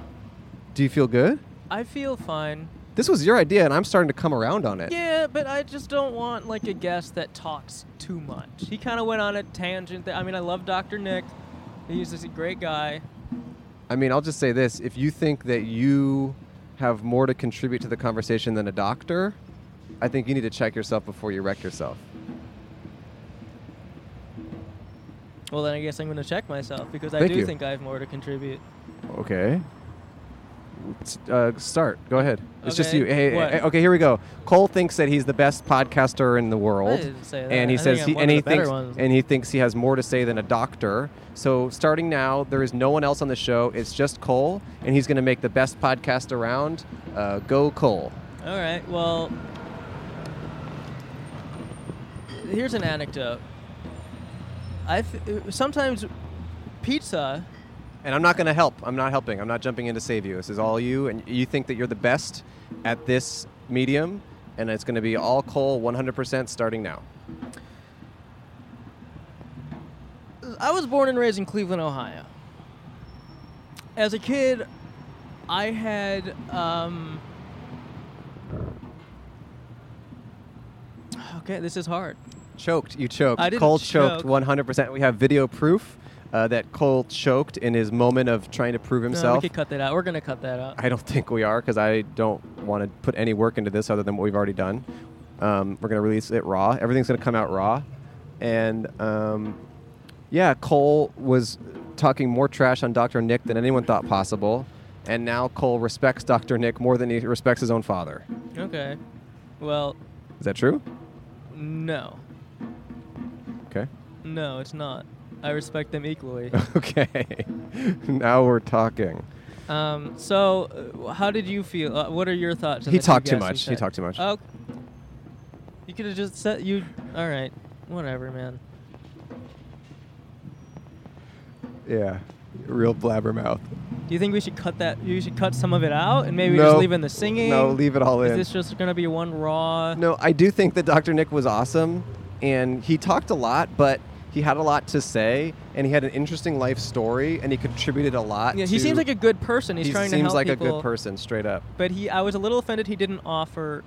Do you feel good? I feel fine. This was your idea, and I'm starting to come around on it. Yeah, but I just don't want like a guest that talks too much. He kind of went on a tangent. That, I mean, I love Dr. Nick. He's just a great guy. I mean, I'll just say this: if you think that you have more to contribute to the conversation than a doctor, I think you need to check yourself before you wreck yourself. Well, then I guess I'm going to check myself because I Thank do you. think I have more to contribute. Okay. S- Uh, start. Go ahead. It's just Okay. you. Hey, What? hey, okay, here we go. Cole thinks that he's the best podcaster in the world, didn't say that. and he I think says I'm he one and of he the better thinks ones. and he thinks he has more to say than a doctor. So starting now, there is no one else on the show. It's just Cole, and he's going to make the best podcast around. Uh, go Cole. All right. Well, here's an anecdote. I th- sometimes pizza. And I'm not going to help. I'm not helping. I'm not jumping in to save you. This is all you, and you think that you're the best at this medium, and it's going to be all Cole, 100% starting now. I was born and raised in Cleveland, Ohio. As a kid, I had um, okay. This is hard. Choked. You choked. I didn't Cole choked choke. 100%. We have video proof uh, that Cole choked in his moment of trying to prove No, we himself. could cut that out. We're gonna cut that out. I don't think we are because I don't want to put any work into this other than what we've already done. Um, we're going to release it raw. Everything's going to come out raw. And um, yeah, Cole was talking more trash on Dr. Nick than anyone thought possible. And now Cole respects Dr. Nick more than he respects his own father. Okay. Well, Is that true? no, Okay. no, it's not. I respect them equally. Okay. now we're talking. Um, so, uh, how did you feel? Uh, what are your thoughts? on He the two talked too guests we much. He said? talked too much. Oh, you could have just said you. All right, whatever, man. Yeah. Real blabbermouth. Do you think we should cut that? You should cut some of it out, and maybe No. just leave in the singing. No, leave it all Is in. this just gonna be one raw? No, I do think that Dr. Nick was awesome, and he talked a lot, but he had a lot to say, and he had an interesting life story, and he contributed a lot. Yeah, he to- seems like a good person. He's he trying seems to help like people. a good person, straight up. But he, I was a little offended he didn't offer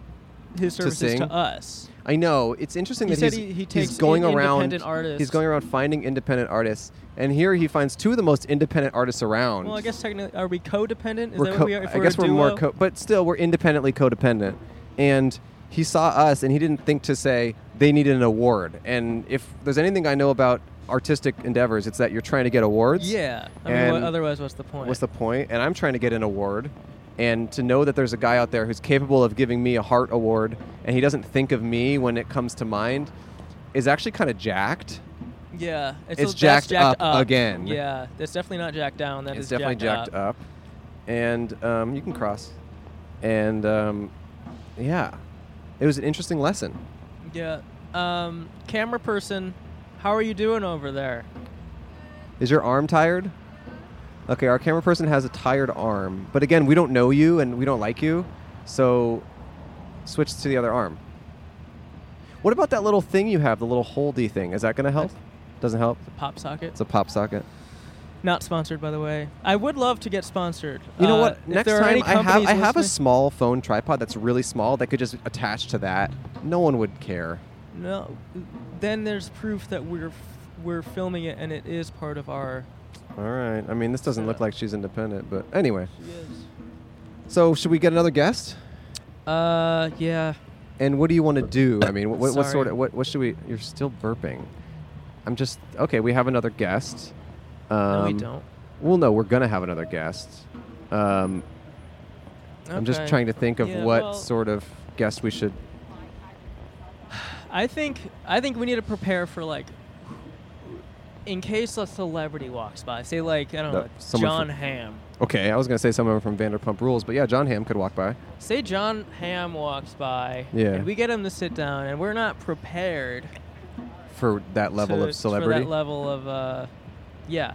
his To services to, sing? us. I know it's interesting He that said he's, he- he he's takes going in- around. independent artists. He's going around finding independent artists, and here he finds two of the most independent artists around. Well, I guess technically, are we codependent? Is we're that co- what we are? If I guess a we're more, duo? co- but still, we're independently codependent. And he saw us, and he didn't think to say they needed an award. And if there's anything I know about artistic endeavors, it's that you're trying to get awards. Yeah. I mean, what, And otherwise, what's the point? What's the point? And I'm trying to get an award. And to know that there's a guy out there who's capable of giving me a heart award, and he doesn't think of me when it comes to mind, is actually kind of jacked. Yeah, It's so that's jacked jacked up again. Yeah, that's definitely not jacked down. That it's is definitely jacked, up. up. and um, you can cross, and um, yeah, it was an interesting lesson. Yeah. Um, camera person, how are you doing over there? Is your arm tired? Okay, our camera person has a tired arm, but again, we don't know you and we don't like you, so switch to the other arm. What about that little thing you have, the little holdy thing? Is that going to help? Doesn't help. Pop socket. It's a pop socket. Uh, Not sponsored, by the way. I would love to get sponsored. You know Uh, what? if Next there are time any I have companies I have a listening- small phone tripod that's really small that could just attach to that. No one would care. no. Then there's proof that we're f- we're filming it and it is part of our. All right. I mean, this doesn't look Yeah. like she's independent, but anyway. So, should we get another guest? Uh yeah. And what do you want to do? I mean, what, what Sorry. sort of what, what should we? You're still burping. I'm just okay. We have another guest. Um, no, we don't. Well, no, we're gonna have another guest. Um, I'm just Okay. trying to think of Yeah, what well- sort of guest we should. I think I think we need to prepare for like in case a celebrity walks by. Say like I don't No, know, someone John from- Hamm. Okay, I was gonna say someone from Vanderpump Rules, but yeah, John Hamm could walk by. Say John Hamm walks by. Yeah. And we get him to sit down, and we're not prepared for that level to- of celebrity. For that level of, uh, yeah.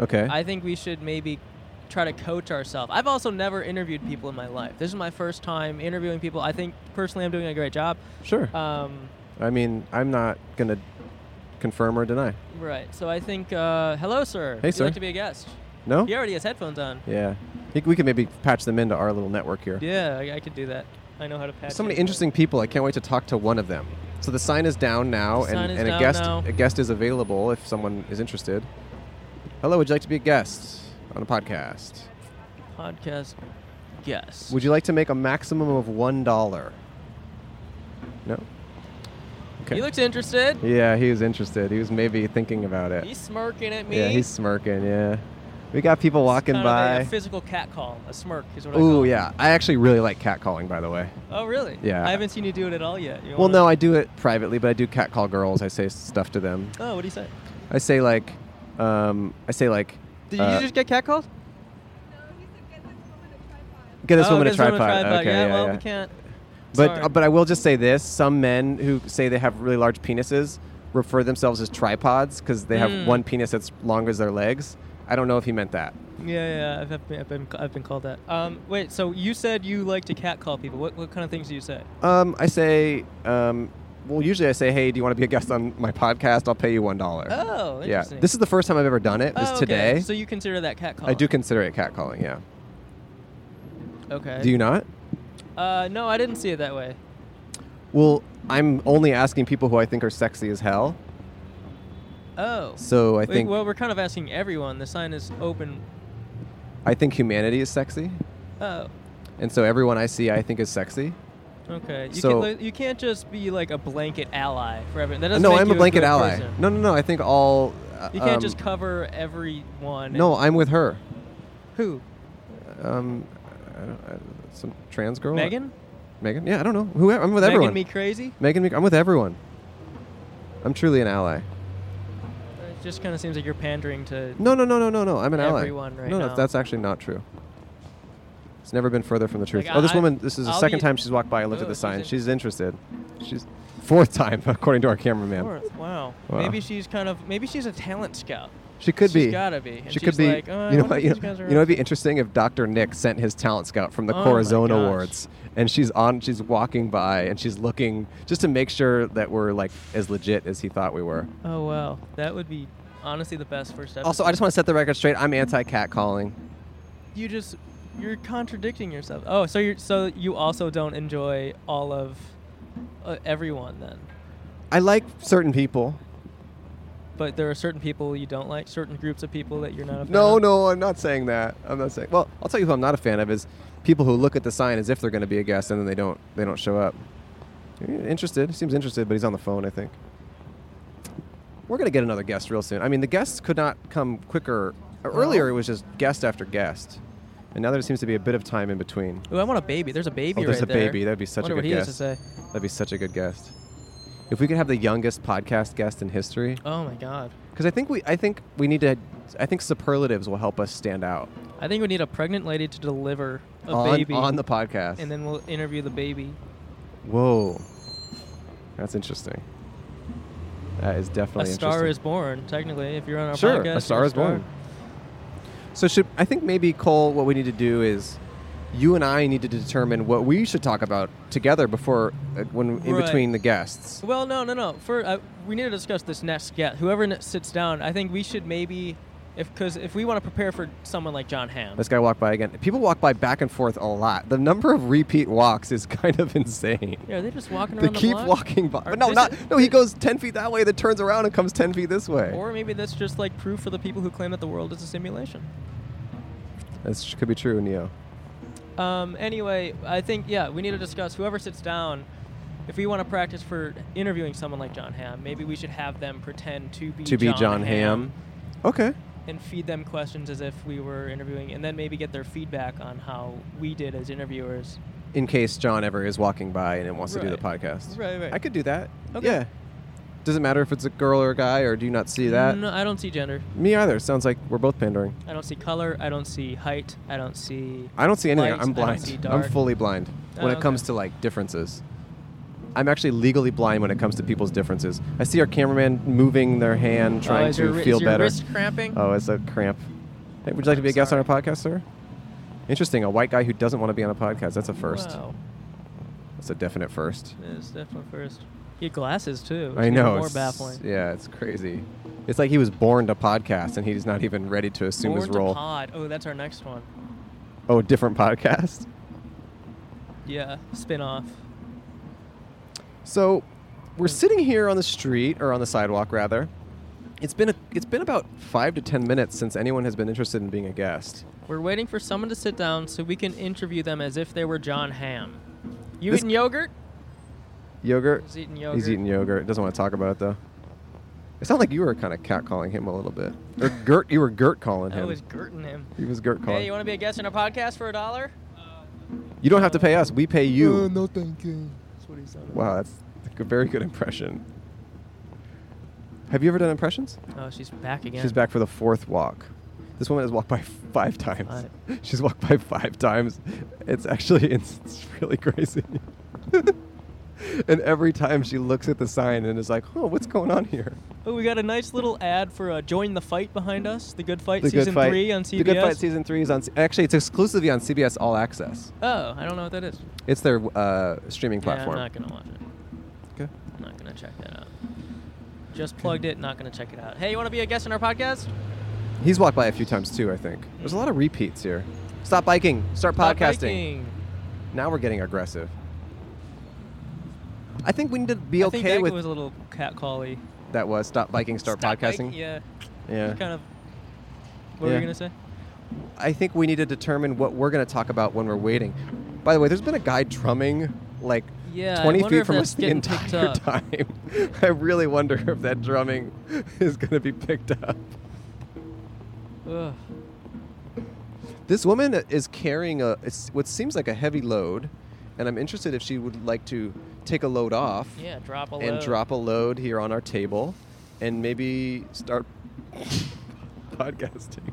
okay. I think we should maybe try to coach ourselves. I've also never interviewed people in my life. This is my first time interviewing people. I think personally, I'm doing a great job. sure. Um, I mean, I'm not gonna confirm or deny. right. So I think, uh, hello, sir. Would you sir. Oh. like to be a guest? No. He already has headphones on. Yeah. He- We could maybe patch them into our little network here. Yeah, I, I could do that. I know how to patch. So many into it. interesting people. I can't wait to talk to one of them. So the sign is down now, The and, sign is and a down guest now. a guest is available if someone is interested. Hello, would you like to be a guest on a podcast? podcast guests. Would you like to make a maximum of one dollar? No. Okay. He looks interested. yeah, he was interested. He was maybe thinking about it. He's smirking at me. yeah, he's smirking. Yeah, we got people walking Kind of a- by. a physical cat call, a smirk is what I call Ooh, it. yeah. I actually really like catcalling, by the way. Oh, really? Yeah. I haven't seen you do it at all yet. You Well, wanna- no, I do it privately, but I do catcall girls. I say stuff to them. Oh, what do you say? I say like, um, I say like, Did uh, you just get catcalled? get this oh, woman a this woman tripod? Okay, yeah, yeah, well, yeah. we can't. But sorry. uh, but I will just say this: some men who say they have really large penises refer themselves as tripods because they Mm. have one penis that's long as their legs. I don't know if he meant that. Yeah, yeah, I've, I've been, I've been, I've been called that. Um, wait, so you said you like to catcall people. What, what kind of things do you say? Um, I say, um, well, usually I say, hey, do you want to be a guest on my podcast? I'll pay you one dollar. Oh, yeah. interesting. This is the first time I've ever done it. oh, Was okay. today. So you consider that catcall? I do consider it catcalling. Yeah. Okay. Do you not? Uh, no, I didn't see it that way. Well, I'm only asking people who I think are sexy as hell. Oh. So I Wait, think well, we're kind of asking everyone. The sign is open. I think humanity is sexy, Oh. and so everyone I see I think is sexy. Okay. You, So- can, you can't just be like a blanket ally for everyone. That doesn't no, make I'm you a blanket good ally. person. No, no, no. I think all. uh, You can't um, just cover everyone. No, I'm with her. Who? Um, I don't, I, some trans girl. Megan? Megan. Yeah, I don't know. Who? I'm with Megan everyone. me crazy? Megan. Me- I'm with everyone. I'm truly an ally. It just kind of seems like you're pandering to. No, no, no, no, no, no. I'm an ally. Everyone right no, now. No, that's actually not true. It's never been further from the truth. Like, oh, this I- woman. This is the I'll second be- time she's walked by. I looked Oh, at the she's sign. in- She's interested. She's fourth time, according to our cameraman. Fourth, Wow. Wow. Maybe she's kind of. Maybe she's a talent scout. She could She's be. gotta be. And She could she's be. like, "Uh, I you know wonder what? if You know, these guys are you know what'd be up to-" interesting if Dr. Nick sent his talent scout from the Oh my Corazon gosh. Awards, and she's on, she's walking by, and she's looking just to make sure that we're like as legit as he thought we were. Oh wow, that would be honestly the best first step. Also, I just want to set the record straight. I'm anti catcalling. you just you're contradicting yourself. Oh, so you are so you also don't enjoy all of uh, everyone then, I like certain people. but there are certain people you don't like, certain groups of people that you're not. A fan No, of? no, I'm not saying that. I'm not saying. Well, I'll tell you who I'm not a fan of is people who look at the sign as if they're going to be a guest and then they don't. They don't show up. Interested? He seems interested, but he's on the phone. I think. We're going to get another guest real soon. I mean, the guests could not come quicker. Earlier, it was just guest after guest, and now there seems to be a bit of time in between. Ooh, I want a baby. There's a baby Oh, there's right a there. baby. That'd be such a Wonder good what he has guess. to say. That'd be such a good guest. if we could have the youngest podcast guest in history, Oh my god. because I think we I think we need to I think superlatives will help us stand out I think we need a pregnant lady to deliver a on, baby on the podcast. and then we'll interview the baby. Whoa, that's interesting. That is A definitely star interesting. is born, technically, if you're on our sure, podcast. you're a star is born. So should I think maybe Cole? What we need to do is you and I need to determine what we should talk about together before uh, when in Right. between the guests. Well, no, no, no. For uh, we need to discuss this next. Yeah, whoever n- sits down, I think we should maybe, if because if we want to prepare for someone like John Hamm, This guy walked by again. People walk by back and forth a lot. The number of repeat walks is kind of insane. yeah, are they just walking They around keep the block? walking by. Or But no, this not is- no. He goes ten feet that way, then turns around and comes ten feet this way. Or maybe that's just like proof for the people who claim that the world is a simulation. That could be true, Neo. Um, anyway, I think yeah, we need to discuss whoever sits down. If we want to practice for interviewing someone like John Hamm, maybe we should have them pretend to be To be John, John Ham. Okay. and feed them questions as if we were interviewing, and then maybe get their feedback on how we did as interviewers. In case John ever is walking by and wants to do the Right. podcast. Right, right. I could do that. Okay. Yeah. Doesn't matter if it's a girl or a guy, or do you not see that? No, I don't see gender. Me either. Sounds like we're both pandering. I don't see color. I don't see height. I don't see. I don't see anything. Light, I I'm don't blind. see I'm dark. fully blind Oh, when it okay. comes to like differences. I'm actually legally blind when it comes to people's differences. I see our cameraman moving their hand, trying Oh, is to your, wri- feel is your better. wrist cramping? Oh, it's a cramp. Hey, would you like to I'm be a guest on sorry. our podcast, sir? Interesting. A white guy who doesn't want to be on a podcast. That's a first. Wow. That's a definite first. It's definitely first. Your glasses too. It's I even know. More it's- baffling. Yeah, it's crazy. It's like he was born to podcast and he's not even ready to assume Born his to role. pod. Oh, that's our next one. oh, a different podcast. Yeah, spin off. So, we're sitting here on the street or on the sidewalk rather. It's been a, it's been about 5 to 10 minutes since anyone has been interested in being a guest. We're waiting for someone to sit down so we can interview them as if they were John Ham. You This- eating yogurt? Yogurt? He's eating yogurt. He's eating yogurt. Doesn't want to talk about it though. It sounded like you were kind of catcalling him a little bit. Or Gert, you were Gert calling I him. was gurting him. he was Gert calling. Hey, you you, want to be a guest on a podcast for a dollar? don't have to pay us. We pay you. Uh, no, thank you. Wow, that's a very good impression. Have you ever done impressions? Oh, she's back again. She's back for the fourth walk. This woman has walked by five times. She's walked by five times. It's actually it's, it's really crazy. and every time she looks at the sign and is like, "Oh, what's going on here?" Oh, we got a nice little ad for uh, "Join the Fight" behind us. The Good Fight The season Good Fight. three on CBS. The Good Fight season three is on. C- Actually, it's exclusively on CBS All Access. Oh, I don't know what that is. It's their uh, streaming Yeah, I'm platform. not gonna watch it. okay. I'm not gonna check that out. Just plugged it. Not gonna check it out. Hey, you want to be a guest on our podcast? He's walked by a few times too. I think there's a lot of repeats here. Stop biking. Start Stop podcasting. biking. Now we're getting aggressive. I think we need to be I okay think that with was a little cat cally. that. Was stop biking, start podcasting. yeah. yeah. Kind of. What were Yeah. you gonna say? I think we need to determine what we're going to talk about when we're waiting. By the way, there's been a guy drumming like Yeah, I 20 wonder feet if from that's us the getting picked entire up. time. I really wonder if that drumming is going to be picked up. Ugh. This woman is carrying a it's what seems like a heavy load, and I'm interested if she would like to take a load off. Yeah, drop a and load. drop a load here on our table and maybe start podcasting.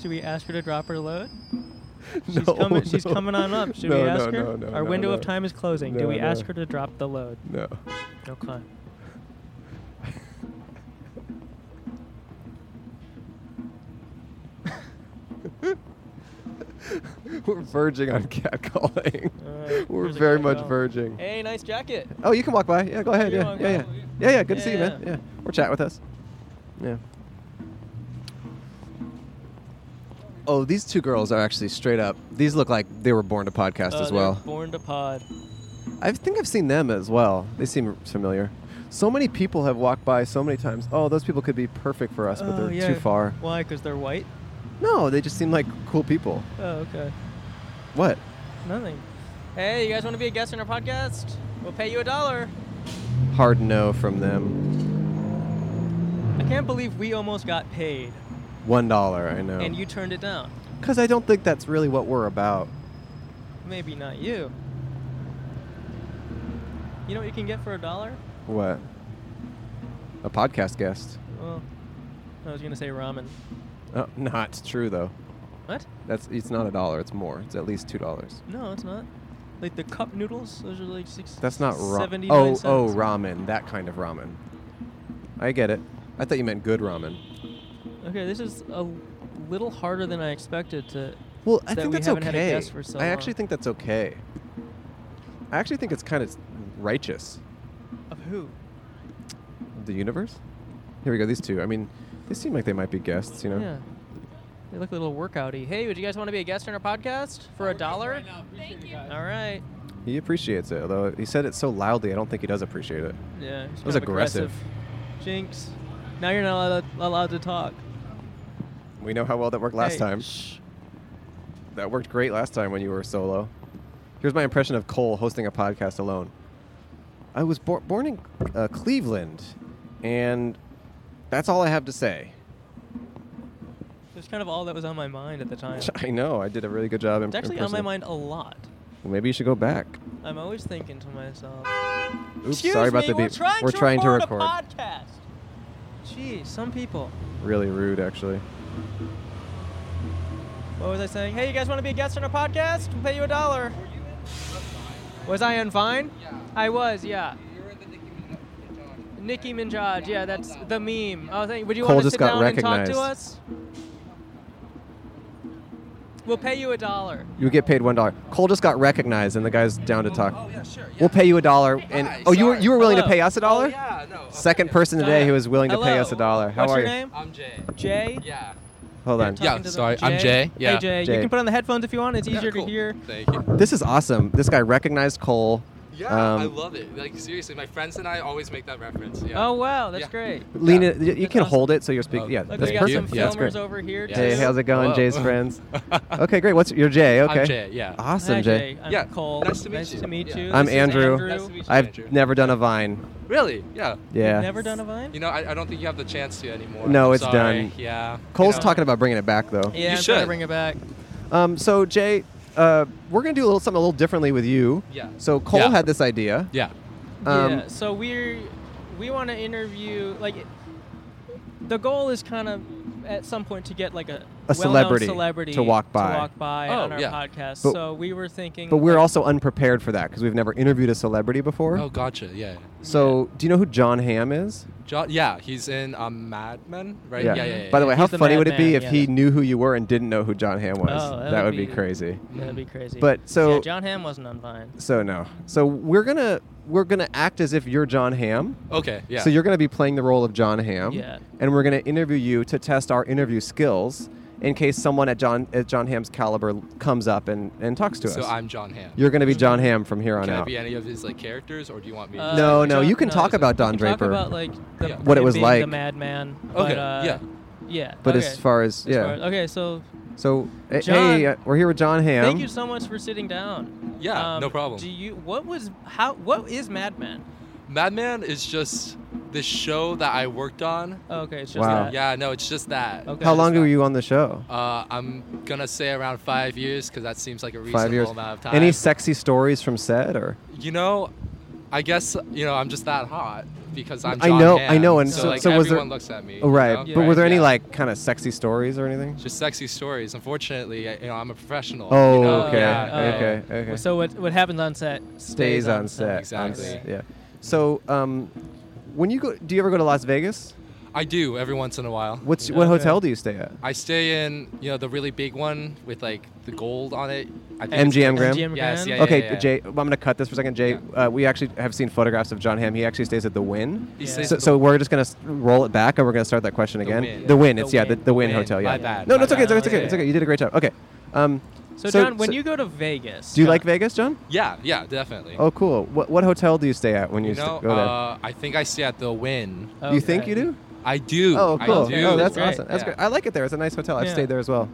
Should we ask her to drop her load? No, She's coming. She's no. coming on up. Should No, we no, ask her? no, no, Our no, window no. of time is closing. Do No, we no. ask her to drop the load? No. Okay. We're verging on catcalling. Alright, We're here's a very guy much go. verging. Hey, nice jacket. Oh, you can walk by. Yeah, go ahead. You Yeah, wanna yeah, yeah. go? Yeah, yeah. Good to see you, Yeah, man. yeah. Yeah. Or chat with us. Yeah. Oh, these two girls are actually straight up. These look like they were born to podcast Oh, as they're well. Born to pod. I think I've seen them as well. They seem familiar. So many people have walked by so many times. Oh, those people could be perfect for us, but Oh, they're yeah. too far. Why? Because they're white. No, they just seem like cool people. Oh, okay. What? Nothing. Hey, you guys want to be a guest on our podcast? We'll pay you a dollar. Hard no from them. I can't believe we almost got paid One dollar, I know. and you turned it down. Because I don't think that's really what we're about. Maybe not you. You know what you can get for a dollar? What? A podcast guest. Well, I was gonna say ramen. Uh, not true though. What? That's it's not a dollar. It's more. It's at least two dollars. No, it's not. Like the cup noodles, those are like six. That's not ramen. 79 Oh, oh, cents. ramen. That kind of ramen. I get it. I thought you meant good ramen. Okay, this is a little harder than I expected to. Well, I That think we that's haven't had a okay. guest for so I actually long. think that's okay. I actually think it's kind of righteous. Of who? The universe. Here we go. These two. I mean, they seem like they might be guests. You know. Yeah. They look a little workouty. Hey, would you guys want to be a guest on our podcast for a dollar? All right. He appreciates it, although he said it so loudly. I don't think he does appreciate it. Yeah. It was aggressive. Jinx. Now you're not allowed, allowed to talk. We know how well that worked last Hey, time. shh. That worked great last time when you were solo. Here's my impression of Cole hosting a podcast alone. I was bor- born in uh, Cleveland, and that's all I have to say. That's kind of all that was on my mind at the time. It's I know I did a really good job. in actually on my mind a lot. Well, maybe you should go back. I'm always thinking to myself. Oops, Excuse sorry about me, the beep. We're trying, to, record. a podcast. Gee, some people. really rude, actually. What was I saying? Hey, you guys want to be a guest on our podcast? We'll pay you a dollar. Was I on Vine? Yeah. I was, yeah. Nicki Minaj, yeah, that's the meme. Oh, thank you. Would you Cole want to just sit got down and talk recognized. to us? We'll pay you a dollar. You get paid one dollar. Cole just got recognized, and the guy's down to talk. Oh yeah, sure. We'll pay you a dollar. And Hi, oh, you were sorry. you were willing to Hello. Oh, pay us a dollar? Yeah, no. okay, Second yeah. person today who was willing to pay Hello. us a dollar. How What's are your you? name? I'm Jay. Jay? Yeah. Hold on. Yeah, Talking to the- sorry, I'm Jay, yeah. Hey, Jay. You Jay. can put on the headphones if you want. It's Yeah, easier cool. to hear. Thank you. This is awesome. This guy recognized Cole. Yeah, Um, I love it. Like seriously, my friends and I always make that reference. Yeah. Oh, wow, that's Yeah. great. Lean it. You, you That's can awesome. hold it so you're speaking. Yeah, Look, Look, that's we got you. some perfect. Yeah, That's filmers great. over here. Yeah. Jay, too. how's it going? Hello. Jay's friends. Okay, great. What's you're Jay? Okay. Uh, I'm Jay. Yeah. Uh, Awesome, Hi, Jay. I'm Yeah, Cole. nice to meet you. Yeah. I'm This is Andrew. Nice to meet you, I've Andrew. never done a vine. Really? Yeah. Yeah. You've never done a vine? You know, I, I don't think you have the chance to anymore. No, I'm it's sorry. done. Yeah. Cole's You know, talking about bringing it back though. yeah, I'm trying to should. bring it back. Um, so Jay, uh, we're gonna do a little something a little differently with you. Yeah. So Cole Yeah. had this idea. Yeah. Um, yeah, so we're we want to interview like it- the goal is kind of at some point to get like a, well-known celebrity celebrity to walk by. to walk by Oh, on our yeah. podcast. But- so we were thinking, But we're like, also unprepared for that because we've never interviewed a celebrity before. Oh, gotcha. Yeah. So do you know who John Hamm is? John, yeah, he's in um, Mad Men, right? Yeah, yeah, yeah. By the way, how He's the funny would it be madman, if yeah. he knew who you were and didn't know who John Hamm was? Oh, that, would be, crazy. That'd be crazy. But, so- yeah, John Hamm wasn't on Vine. So no. So we're gonna we're gonna act as if you're John Hamm. yeah. Okay, yeah. So you're gonna be playing the role of John Hamm. Yeah. And we're gonna interview you to test our interview skills in case someone at John at John Hamm's caliber comes up and, and talks to So us. I'm John Hamm. you're gonna be John Hamm from here on Can I out. be any of his like characters, or do you want me? to Uh, no, no, John- you can no, talk he's a- about Don we Draper. Talk about like the, Yeah. What it him was being like. The madman. Okay, But, uh, yeah. Yeah. but okay. as far as As yeah, far- okay, so so eh, John- hey, uh, we're here with John Hamm. Thank you so much for sitting down. Um, Yeah, um, no problem. Do you? What was? How? What is Mad Men? Mad Men is just the show that I worked on. Oh, okay, it's just Wow. that. Yeah, no, it's just that. Okay. How long were you on the show? Uh, I'm gonna say around five years because that seems like a reasonable Five years. amount of time. Any sexy stories from set or? you know, I guess you know I'm just that hot because I'm. I John know- Hamm, I know, and so, so- like, so was there- everyone looks at me. Oh, you right. know? But were there any yeah. like kind of sexy stories or anything? just sexy stories? Unfortunately, I- you know, I'm a professional. Oh, you know? okay, Yeah, Oh, yeah. okay, okay. So what what happens on set stays, Stays on set. Exactly. on s- yeah. So, um, when you go, do you ever go to Las Vegas? I do every once in a while. What's you know? what hotel do you stay at? I stay in, you know, the really big one with like the gold on it. I think it's- MGM Grand. MGM Yes, Grand? yeah, okay, yeah. Jay. well, I'm gonna cut this for a second. Jay, uh, we actually have seen photographs of John Hamm. He actually stays at the Win. He Yeah. stays So, at the- so we're just gonna s- roll it back, and we're gonna start that question again. Wynn. The Win. It's The yeah, the, Wynn. the Win Wynn. Hotel. Yeah. My bad, No, no, my it's okay. It's bad. okay. It's okay. It's Yeah. okay. You did a great job. Okay. Um, So, so- John, when so- you go to Vegas, do you John- like Vegas, John? yeah, yeah, definitely. Oh, cool. What what hotel do you stay at when you, you st- know, go there? uh, I think I stay at the Win. Oh, You think okay. you do? I do. Oh, I cool. do. Oh, that's Great. awesome. That's Yeah. great. I like it there. It's a nice hotel. I've Yeah. stayed there as well.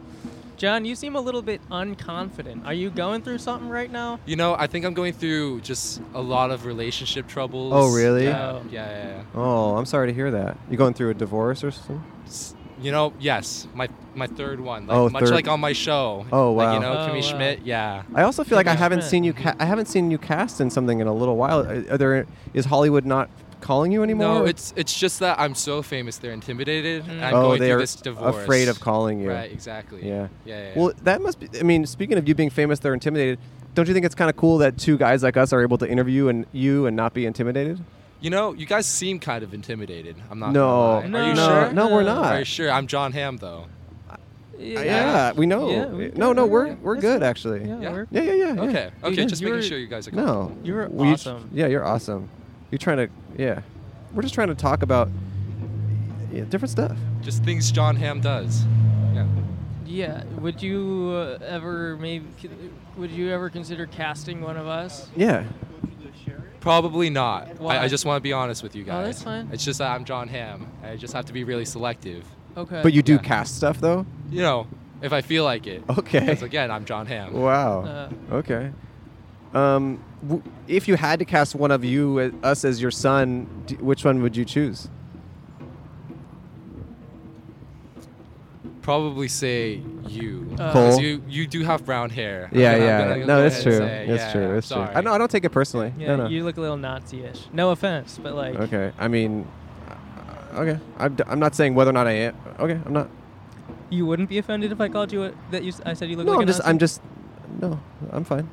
John, you seem a little bit unconfident. Are you going through something right now? You know, I think I'm going through just a lot of relationship troubles. Oh, really? Yeah, Oh. yeah, yeah. yeah. Oh, I'm sorry to hear that. You going through a divorce or something? S- You know, yes, my my third one. Like, Oh, much third- like on my show. Oh, Like, you wow. know, Oh, Kimmy wow. Schmidt. Yeah. I also feel like I Kimmy haven't Schmidt. seen you. Ca- I haven't seen you cast in something in a little while. Are are there? Is Hollywood not calling you anymore? No, it's it's just that I'm so famous, they're intimidated. Mm. And I'm oh, going they're through this divorce. afraid of calling you. Right, exactly. Yeah. Yeah. yeah, yeah. Well, that must be. I mean, speaking of you being famous, they're intimidated. Don't you think it's kind of cool that two guys like us are able to interview and you and not be intimidated? you know, you guys seem kind of intimidated. I'm not. No, gonna lie. Are you no, sure? no, we're not. Are you sure? I'm John Hamm though. Yeah, we know. Yeah, we- no, no, we're yeah, we're that's good fine. actually. Yeah, Yeah. we're- yeah, yeah. yeah. Okay. Yeah. Okay. You- Just you making were- sure you guys are. comfortable. No, You're We each- awesome. yeah, you're awesome. You're trying to. Yeah, we're just trying to talk about yeah, different stuff. Just things John Hamm does. Yeah. Yeah. Would you uh, ever maybe? Would you ever consider casting one of us? Yeah. Probably not. Why? I, I just want to be honest with you guys. Oh, that's fine. It's just that I'm John Hamm. I just have to be really selective. Okay. But you do Uh, Yeah. cast stuff though. You know, if I feel like it. Okay. Because again, I'm John Hamm. Wow. Uh, okay. Um, w- if you had to cast one of you, uh, us as your son, d- which one would you choose? Probably say you. Uh, Cole? Because you you do have brown hair. I'm Yeah, gonna- I'm yeah. gonna no, go that's ahead true. and say, that's yeah, true. That's sorry. true. I know. I don't take it personally. Yeah, no, no. you look a little Nazi-ish. No offense, but like, okay. I mean, uh, okay. I'm, d- I'm not saying whether or not I am. Okay. I'm not. you wouldn't be offended if I called you a, that you. s- I said you look No, like I'm a just. Nazi? I'm just. No, I'm fine.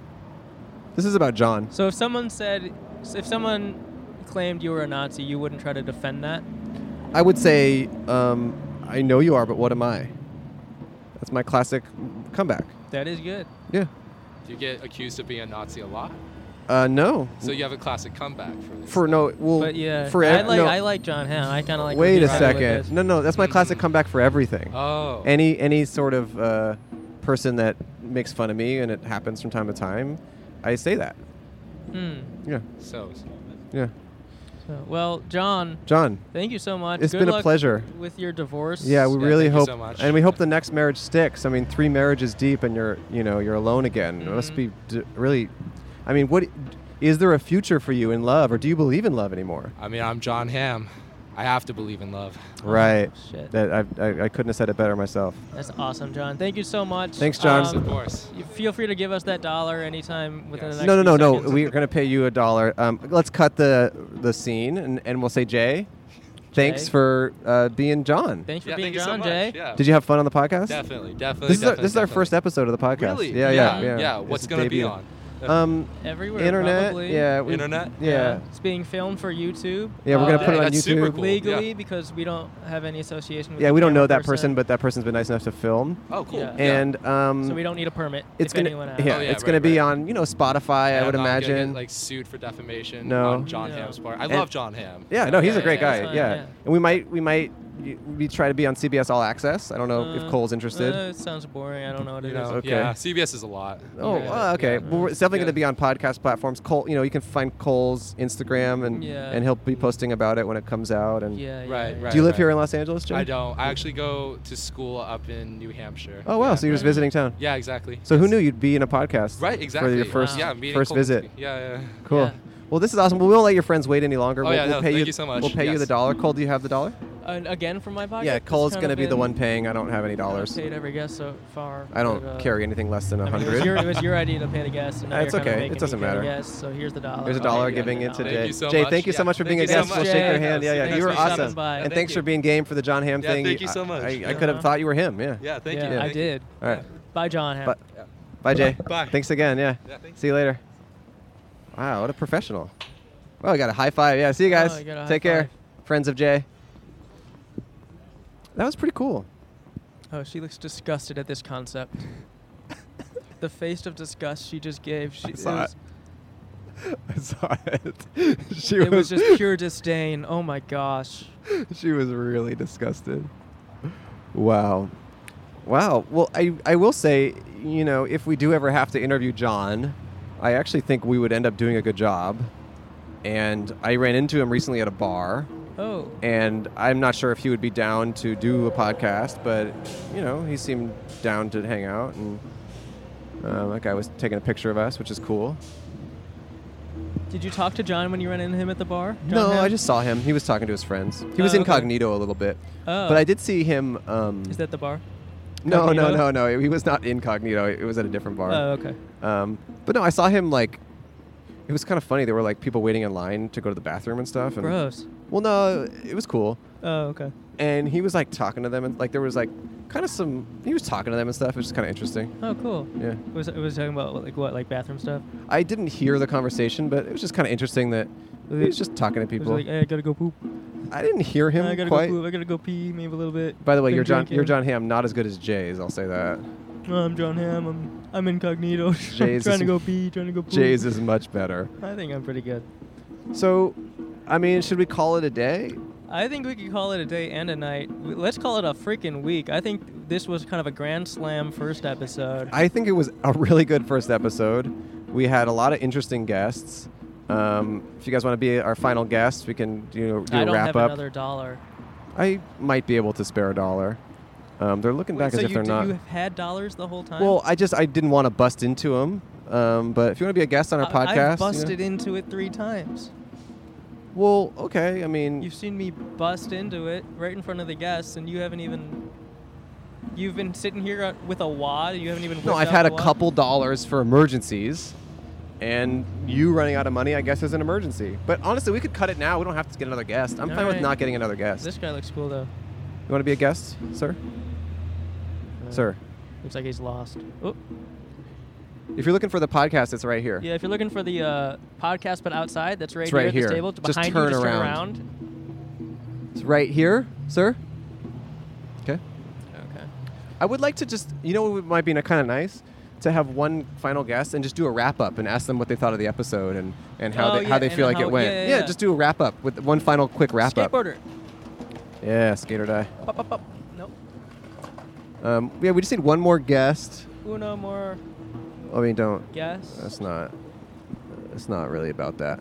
This is about John. So if someone said, if someone claimed you were a Nazi, you wouldn't try to defend that. I would say, um, I know you are, but what am I? That's my classic comeback. That is good. Yeah. Do you get accused of being a Nazi a lot? Uh, no. So you have a classic comeback for this. for no. Well, But yeah, For I ev- like no. I like John Hamm. I kind of like. what Wait a he did with this. second. No, no, that's my classic comeback for everything. Oh. any any sort of uh, person that makes fun of me, and it happens from time to time, I say that. Mm. Yeah, so yeah. So, well, John, John, thank you so much. It's Good been a luck pleasure. with your divorce. yeah, we Yeah, really thank you hope, so much. and we hope the next marriage sticks. I mean, three marriages deep, and you're you know you're alone again. It must Mhm. be Mm-hmm. d- really. I mean, what is there a future for you in love, or do you believe in love anymore? I mean, I'm John Hamm. I have to believe in love. Right. Shit. That I, I, I couldn't have said it better myself. That's awesome, John. Thank you so much. Thanks, John. Um, Of course. you feel free to give us that dollar anytime within Yes. the next. no, few no, no, no. seconds. We're gonna pay you a dollar. Um, let's cut the the scene, and, and we'll say Jay. Thanks Jay. for uh, being John. Thanks for Yeah, being thank you so John, much. Jay. Yeah. Did you have fun on the podcast? Definitely, definitely. This is our, definitely, this is our definitely. first episode of the podcast. Really? Yeah, yeah, yeah. Yeah, yeah. It's What's a gonna be debut. on? Um, Everywhere. internet. Probably. Yeah. we- Internet? Yeah. It's being filmed for YouTube. Yeah, we're gonna Uh, put it on that's YouTube. super cool. legally yeah. because we don't have any association with Yeah, the we don't know camera that person, but that person's been nice enough to film. Oh, cool. Yeah. And um, so we don't need a permit it's if gonna anyone uh, asks. yeah, Oh, yeah, it's right, gonna be right. on you know Spotify. I And would I'm not gonna imagine. get, like sued for defamation No. on John No. Hamm's part. I And- love John Hamm. Yeah, no, he's a yeah, great yeah, guy. it's fine, yeah. yeah. and we might we might y- we try to be on CBS All Access. I don't know if Uh, Cole's interested. uh, it sounds boring. I don't know what it You is. know, Okay. yeah. CBS is a lot. oh, yeah, uh, okay. yeah. Well, we're- it's definitely Yeah. going to be on podcast platforms. Cole, you know, you can find Cole's Instagram and Yeah. and he'll be posting about it when it comes out. And Yeah, yeah, Right, yeah. right. do you live here in Los Angeles, Jim? I don't. I actually go to school up in New Hampshire. Oh wow, Yeah. so you're just visiting town. Yeah, exactly. So who Yes. knew you'd be in a podcast? Right, exactly. For your first yeah, meeting first Cole visit. Wisby. Yeah, yeah. Cool. Yeah. Well, this is awesome. We won't let your friends wait any longer. Oh, we'll, yeah, we'll no, pay thank you, you so much. We'll pay you Yes. the dollar. Cole, do you have the dollar? And again from my pocket. yeah, it's Cole's kind going to of be the been- one paying. I don't have any dollars. I've paid every guest so far. I don't but, uh, carry anything less than a I mean, it hundred. was, your, it was your idea to pay the guest. And now That's you're kinda okay. It making me doesn't pay the matter. guest, so here's the dollar. There's a I'll dollar pay uh, you giving the in to dollar. Jay. you so Jay, much. thank you so Yeah. much for Thank being a you so guest. much. we'll shake your Jay, hand. Yeah, yeah. thanks You for were awesome. stopping by. And Thank thanks you. for being game for the John Hamm Yeah, thing. thank you so much. I, I Yeah. could have thought you were him. Yeah. Yeah, thank yeah, you. I did. All right. Bye, John. Hamm. Bye. Bye, Jay. Bye. Thanks again. Yeah. Yeah, thanks. See you later. Wow, what a professional. Well, we got a high five. Yeah. See you guys. Oh, I got a high Take care, five. friends of Jay. That was pretty cool. Oh, she looks disgusted at this concept. the face of disgust she just gave. She, I saw was, I saw it. she it was just pure disdain. Oh my gosh. she was really disgusted. Wow. Wow. Well, I, I will say, you know, if we do ever have to interview John, I actually think we would end up doing a good job. And I ran into him recently at a bar, Oh. and I'm not sure if he would be down to do a podcast, but, you know, he seemed down to hang out. uh, And um, that guy was taking a picture of us, which is cool. Did you talk to John when you ran into him at the bar? John No, Hamm? I just saw him. He was talking to his friends. He was Oh, okay. incognito a little bit, Oh. but I did see him. Um, Is that the bar? no, no, no, incognito? no. He was not incognito. It was at a different bar. Oh, okay. Um, but no, I saw him like. It was kind of funny. There were like people waiting in line to go to the bathroom and stuff. And, Gross. Well, no, it was cool. Oh, okay. And he was like talking to them, and like there was like kind of some. He was talking to them and stuff. It was just kind of interesting. Oh, cool. Yeah. It was it was talking about like what like bathroom stuff. I didn't hear the conversation, but it was just kind of interesting that he was just talking to It was people. like hey, I gotta go poop. I didn't hear him I gotta quite. go poop. I gotta go pee maybe a little bit. By the way, Been you're John. You're drinking. John Hamm, not as good as Jay's. I'll say that. Mm. I'm John Hamm. I'm I'm incognito. I'm Jay's trying is- to go pee. Trying to go poop. Jay's is much better. I think I'm pretty good. So, I mean, should we call it a day? I think we could call it a day and a night. W- Let's call it a freaking week. I think this was kind of a grand slam first episode. I think it was a really good first episode. We had a lot of interesting guests. Um, if you guys want to be our final guest, we can do, do I a don't wrap have up. another dollar. I might be able to spare a dollar. Um, they're looking Wait, back so as if you, they're d- not. you have had dollars the whole time. well, I just I didn't want to bust into them. Um, but if you want to be a guest on our I- podcast, I've you know- busted into it three times. well, okay. I mean, You've seen me bust into it right in front of the guests, and you haven't even. You've been sitting here uh, with a wad. You haven't even. No, whipped I've out had the a wad. couple dollars for emergencies, and you running out of money, I guess, is an emergency. But honestly, we could cut it now. We don't have to get another guest. I'm All fine with right. not getting another guest. This guy looks cool though. you want to be a guest, sir? Uh, Sir, Looks like he's lost. Oh, if you're looking for the podcast, it's right here. yeah. If you're looking for the uh, podcast, but outside, that's right It's here right at here. this table. Just behind turn you, just turn around. around. It's right here, sir. Okay. Okay. I would like to just, you know, it might be kind of nice to have one final guest and just do a wrap up and ask them what they thought of the episode and, and how Oh, they how yeah, they and feel like how- it went. yeah, yeah, yeah. just do a wrap up with one final quick wrap up. Skateboarder. Yeah, skater die. Pop, pop, pop. Nope. Um, yeah, we just need one more guest. Uno more I mean, don't. guess. That's not. It's not really about that.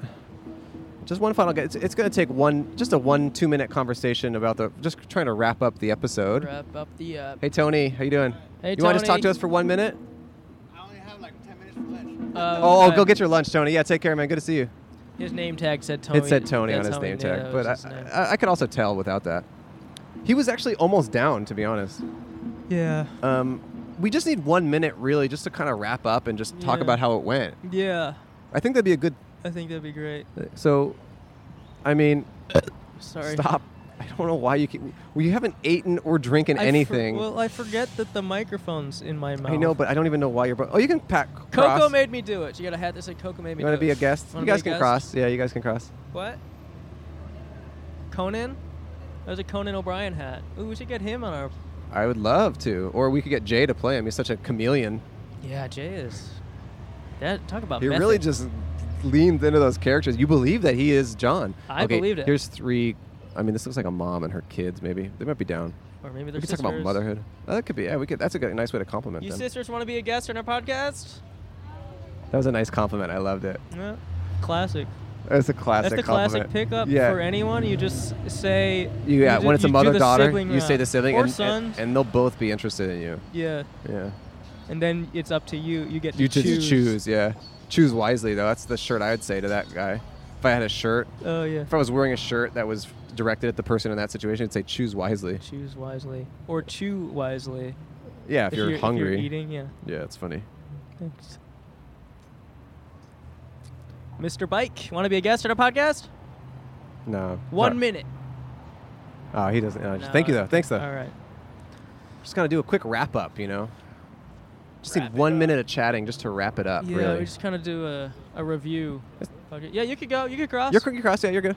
Just one final. guess. It's, it's going to take one, just a one, two minute conversation about the. Just trying to wrap up the episode. Wrap up the. Uh, Hey Tony, how you doing? Hey, you want to just talk Tony. to us for one minute? uh, Oh, oh, uh, go get your lunch, Tony. Yeah, take care, man. Good to see you. His name tag said Tony. it said Tony on That's his how we name knew tag, that was but his name. I, I, I could also tell without that. He was actually almost down, to be honest. yeah. Um, we just need one minute, really, just to kind of wrap up and just talk Yeah. about how it went. Yeah. I think that'd be a good. I think that'd be great. So, I mean, Sorry. Stop. I don't know why you keep. Well, you haven't eaten or drinking I for- anything. well, I forget that the microphone's in my mouth. I know, but I don't even know why you're. bro- Oh, you can pack. Coco cross. made me do it. She got a hat that said Coco made me do You want it. to be a guest? Wanna you be a guys can guest? cross. Yeah, you guys can cross. What? Conan? That was a Conan O'Brien hat. Ooh, we should get him on our. I would love to, or we could get Jay to play him. He's such a chameleon. Yeah, Jay is. That talk about. He really method. just leaned into those characters. You believe that he is John. I okay, believed it. Here's three. I mean, this looks like a mom and her kids. Maybe they might be down. Or maybe We they're could talk about sisters. motherhood. Oh, that could be. Yeah, we could. That's a good, nice way to compliment You them. sisters want to be a guest on our podcast? that was a nice compliment. I loved it. Yeah. Classic. That's a classic. That's the classic compliment. pickup yeah. for anyone. You just say. You, yeah, you ju- when it's a you do mother the daughter, sibling you say round. the sibling, Or and, sons. and and they'll both be interested in you. yeah, Yeah, and then it's up to you. You get to you just choose. choose. Yeah, choose wisely though. That's the shirt I'd say to that guy. If I had a shirt, Oh yeah. if I was wearing a shirt that was directed at the person in that situation, I'd say choose wisely. Choose wisely, or chew wisely. Yeah, if, you're, hungry. if you're eating, yeah. Yeah, it's funny. Thanks. Mr. Bike, want to be a guest on our podcast? No. One Sorry. minute. Oh, he doesn't. no, just- No, thank you though. that's Thanks though. All right. Just gonna do a quick wrap up. You know. Just Wrap need it one up. minute of chatting just to wrap it up. yeah, really. we just kind of do a, a review. Okay. Yeah, you could go. You could cross. You're cookie cross. Yeah, you're good.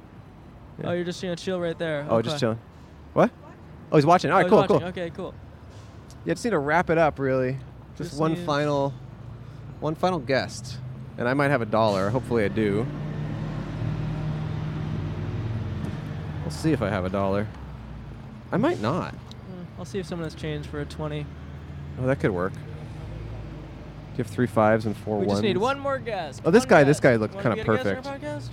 Oh, you're just gonna chill right there. Oh, okay. just chilling. What? Oh, he's watching. All Oh, right, he's cool, watching. cool. Okay, cool. Yeah, just need to wrap it up, really. Just, Just one need- final, one final guest, and I might have a dollar. Hopefully, I do. We'll see if I have a dollar. I might not. Mm, I'll see if someone has changed for a twenty. Oh, that could work. Do you have three fives and four We just need ones? one more guest. Oh, this One guy- this guest. guy looked Wanna kinda be a guest on our perfect. podcast?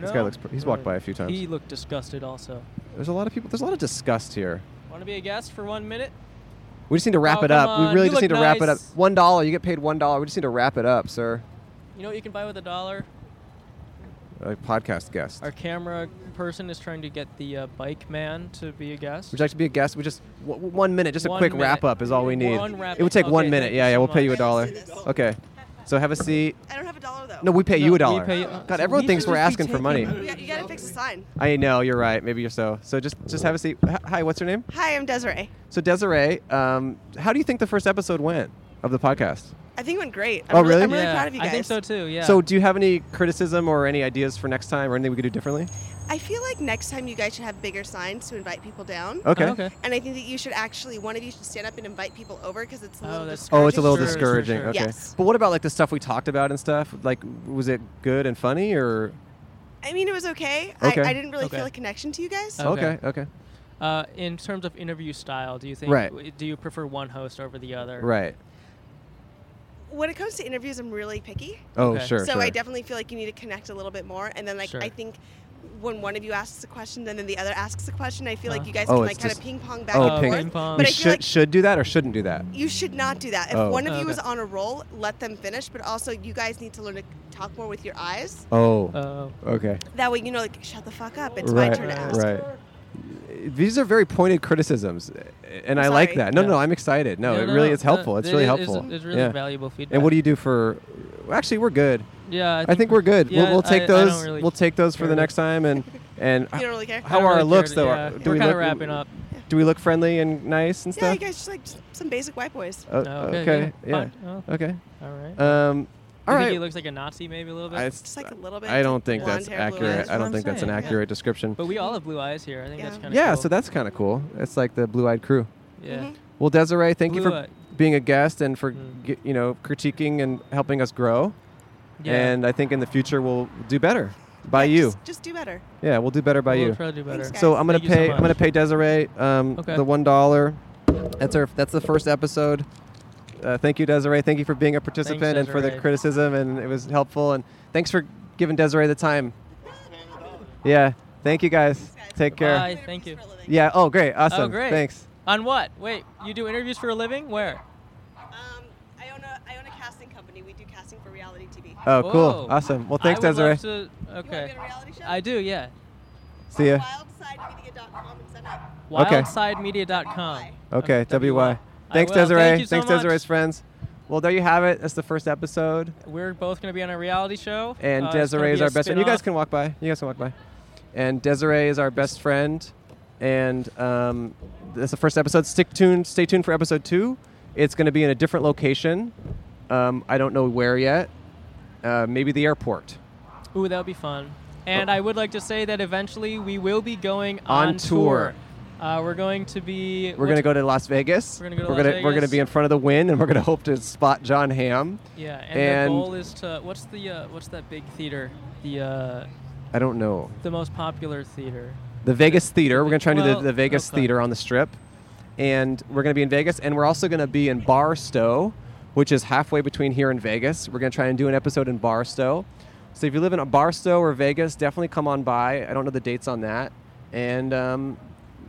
This No? guy looks pr- he's walked Alright. by a few times. He looked disgusted also. There's a lot of people. There's a lot of disgust here. Want to be a guest for one minute? We just need to wrap Oh, it come up. We on, really you just need to look wrap it up. nice. One dollar. You get paid one dollar. We just need to wrap it up, sir. You know what you can buy with a dollar? a podcast guest. Our camera person is trying to get the uh, bike man to be a guest. Would you like to be a guest? We just w- w- one minute, just a One quick minute. wrap up is all we need. One wrap- it would take one okay, minute. thank Yeah, you yeah, so we'll pay you a much. dollar. Let's do this. Okay, so have a seat. I don't have a dollar though. No, we pay you a No, we dollar. pay- God, everyone we thinks should we're just be asking for money. taking- You, got, you gotta fix the sign. I know you're right. Maybe you're so. So just just have a seat. H- Hi, what's your name? Hi, I'm Desiree. So Desiree, um, how do you think the first episode went of the podcast? I think it went great. I'm Oh, really? I'm really Yeah, proud of you guys. I think so too. Yeah. So do you have any criticism or any ideas for next time or anything we could do differently? I feel like next time you guys should have bigger signs to invite people down. Okay. Oh, okay. And I think that you should actually, one of you should stand up and invite people over because it's a Oh, little that's- Oh, it's a little Sure, sure, discouraging. sure. Okay. Yes. But what about like the stuff we talked about and stuff? Like, was it good and funny or? I mean, it was okay. Okay. I, I didn't really Okay. feel a connection to you guys. Oh. Okay. Okay. okay. Uh, in terms of interview style, do you think Right. do you prefer one host over the other? Right. When it comes to interviews, I'm really picky. Oh, Okay. sure. so sure. I definitely feel like you need to connect a little bit more. And then, like, Sure. I think when one of you asks a question and then the other asks a question, I feel Uh-huh. like you guys Oh, can, it's like, kind of just- ping pong back Oh, and ping, ping- forth. pong. but you I feel should like- should do that or shouldn't do that. You should not do that. If Oh. one of Oh, you okay. is on a roll, let them finish. But also, you guys need to learn to talk more with your eyes. Oh. Uh, okay. That way, you know, like, shut the fuck up. It's right. my turn to ask. Right. These are very pointed criticisms, and I I'm like sorry. that. No, Yeah. no, I'm excited. No, yeah, it really no, it's helpful. uh, It's it really is- helpful. It's, it's really yeah. valuable feedback. And what do you do for? Actually, we're good. Yeah, I I think we're good. yeah, we'll, we'll take I- I don't those. really we'll take those for care. the next time, and and You don't really care. I how don't are our really care looks to- though? yeah. Do we're we kind look- of wrapping up. Do we look friendly and nice and Yeah, stuff? you guys just like s- some basic white boys. Uh, Okay, okay. yeah, Yeah. fine. Oh, Okay. All right. Um. All you think he right. looks like a Nazi maybe a little bit. I- Just like a little bit. I don't think blonde that's hair, blue accurate. eyes. I what don't I'm think that's an saying, yeah. accurate description. but we all have blue eyes here. I think that's Yeah. kind of Yeah. Cool. So that's kind of cool. It's like the blue-eyed crew. yeah. Mhm. Well, Desiree, thank you Blue for eye- being a guest and for Mm. g- you know critiquing and helping us grow. yeah. And I think in the future we'll do better by Yeah, you. Just, just do better. yeah, we'll do better by we'll you. Try to do better. Thanks, So I'm gonna Thank you so pay. I'm gonna much. pay Desiree um, Okay. the one dollar. That's our. That's the first episode. Uh, thank you, Desiree. Thank you for being a participant and for the Desiree. criticism, and it was helpful. And thanks for giving Desiree the time. Yeah. Thank you, guys. Take care. Bye. Thank you. Yeah. Oh, great. Awesome. great. Thanks. On what? Wait, you do interviews for a living? Where? Um, I own a I own a casting company. We do casting for reality TV. Oh, Whoa. cool. Awesome. Well, thanks, I would Desiree. love to- You want to okay. be on a reality show? I do. Yeah. See ya. Wildsidemedia.com and sign up. Okay. Wildsidemedia.com. Okay, W WY. Y. I Thanks, will. Desiree. Thank you so Thanks, much. Desiree's friends. Well, there you have it. That's the first episode. We're both going to be on a reality show. And Uh, it's gonna Desiree is be a our best friend. You guys spin-off. can walk by. You guys can walk by. And Desiree is our best friend. And um, that's the first episode. Stick tuned. Stay tuned for episode two. It's going to be in a different location. Um, I don't know where yet. Uh, maybe the airport. Ooh, that would be fun. Oh. And I would like to say that eventually we will be going On on, tour. Uh, we're going to be. We're going to go to Las Vegas. We're gonna go to we're Las gonna, We're going to Vegas. be in front of the wind, and we're going to hope to spot John Hamm. Yeah, and, and- the goal is to. What's the uh, What's that big theater? The uh, I don't know. the most popular theater. the Vegas Theater. We're going to try and do Well, the, the Vegas okay. Theater on the Strip. And we're going to be in Vegas. And we're also going to be in Barstow, which is halfway between here and Vegas. We're going to try and do an episode in Barstow. So if you live in Barstow or Vegas, definitely come on by. I don't know the dates on that. And um,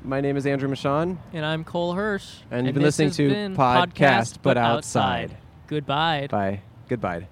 my name is Andrew Michon. And I'm Cole Hirsch. And you've been this listening has to been Podcast But Outside. Goodbye. Bye. Goodbye.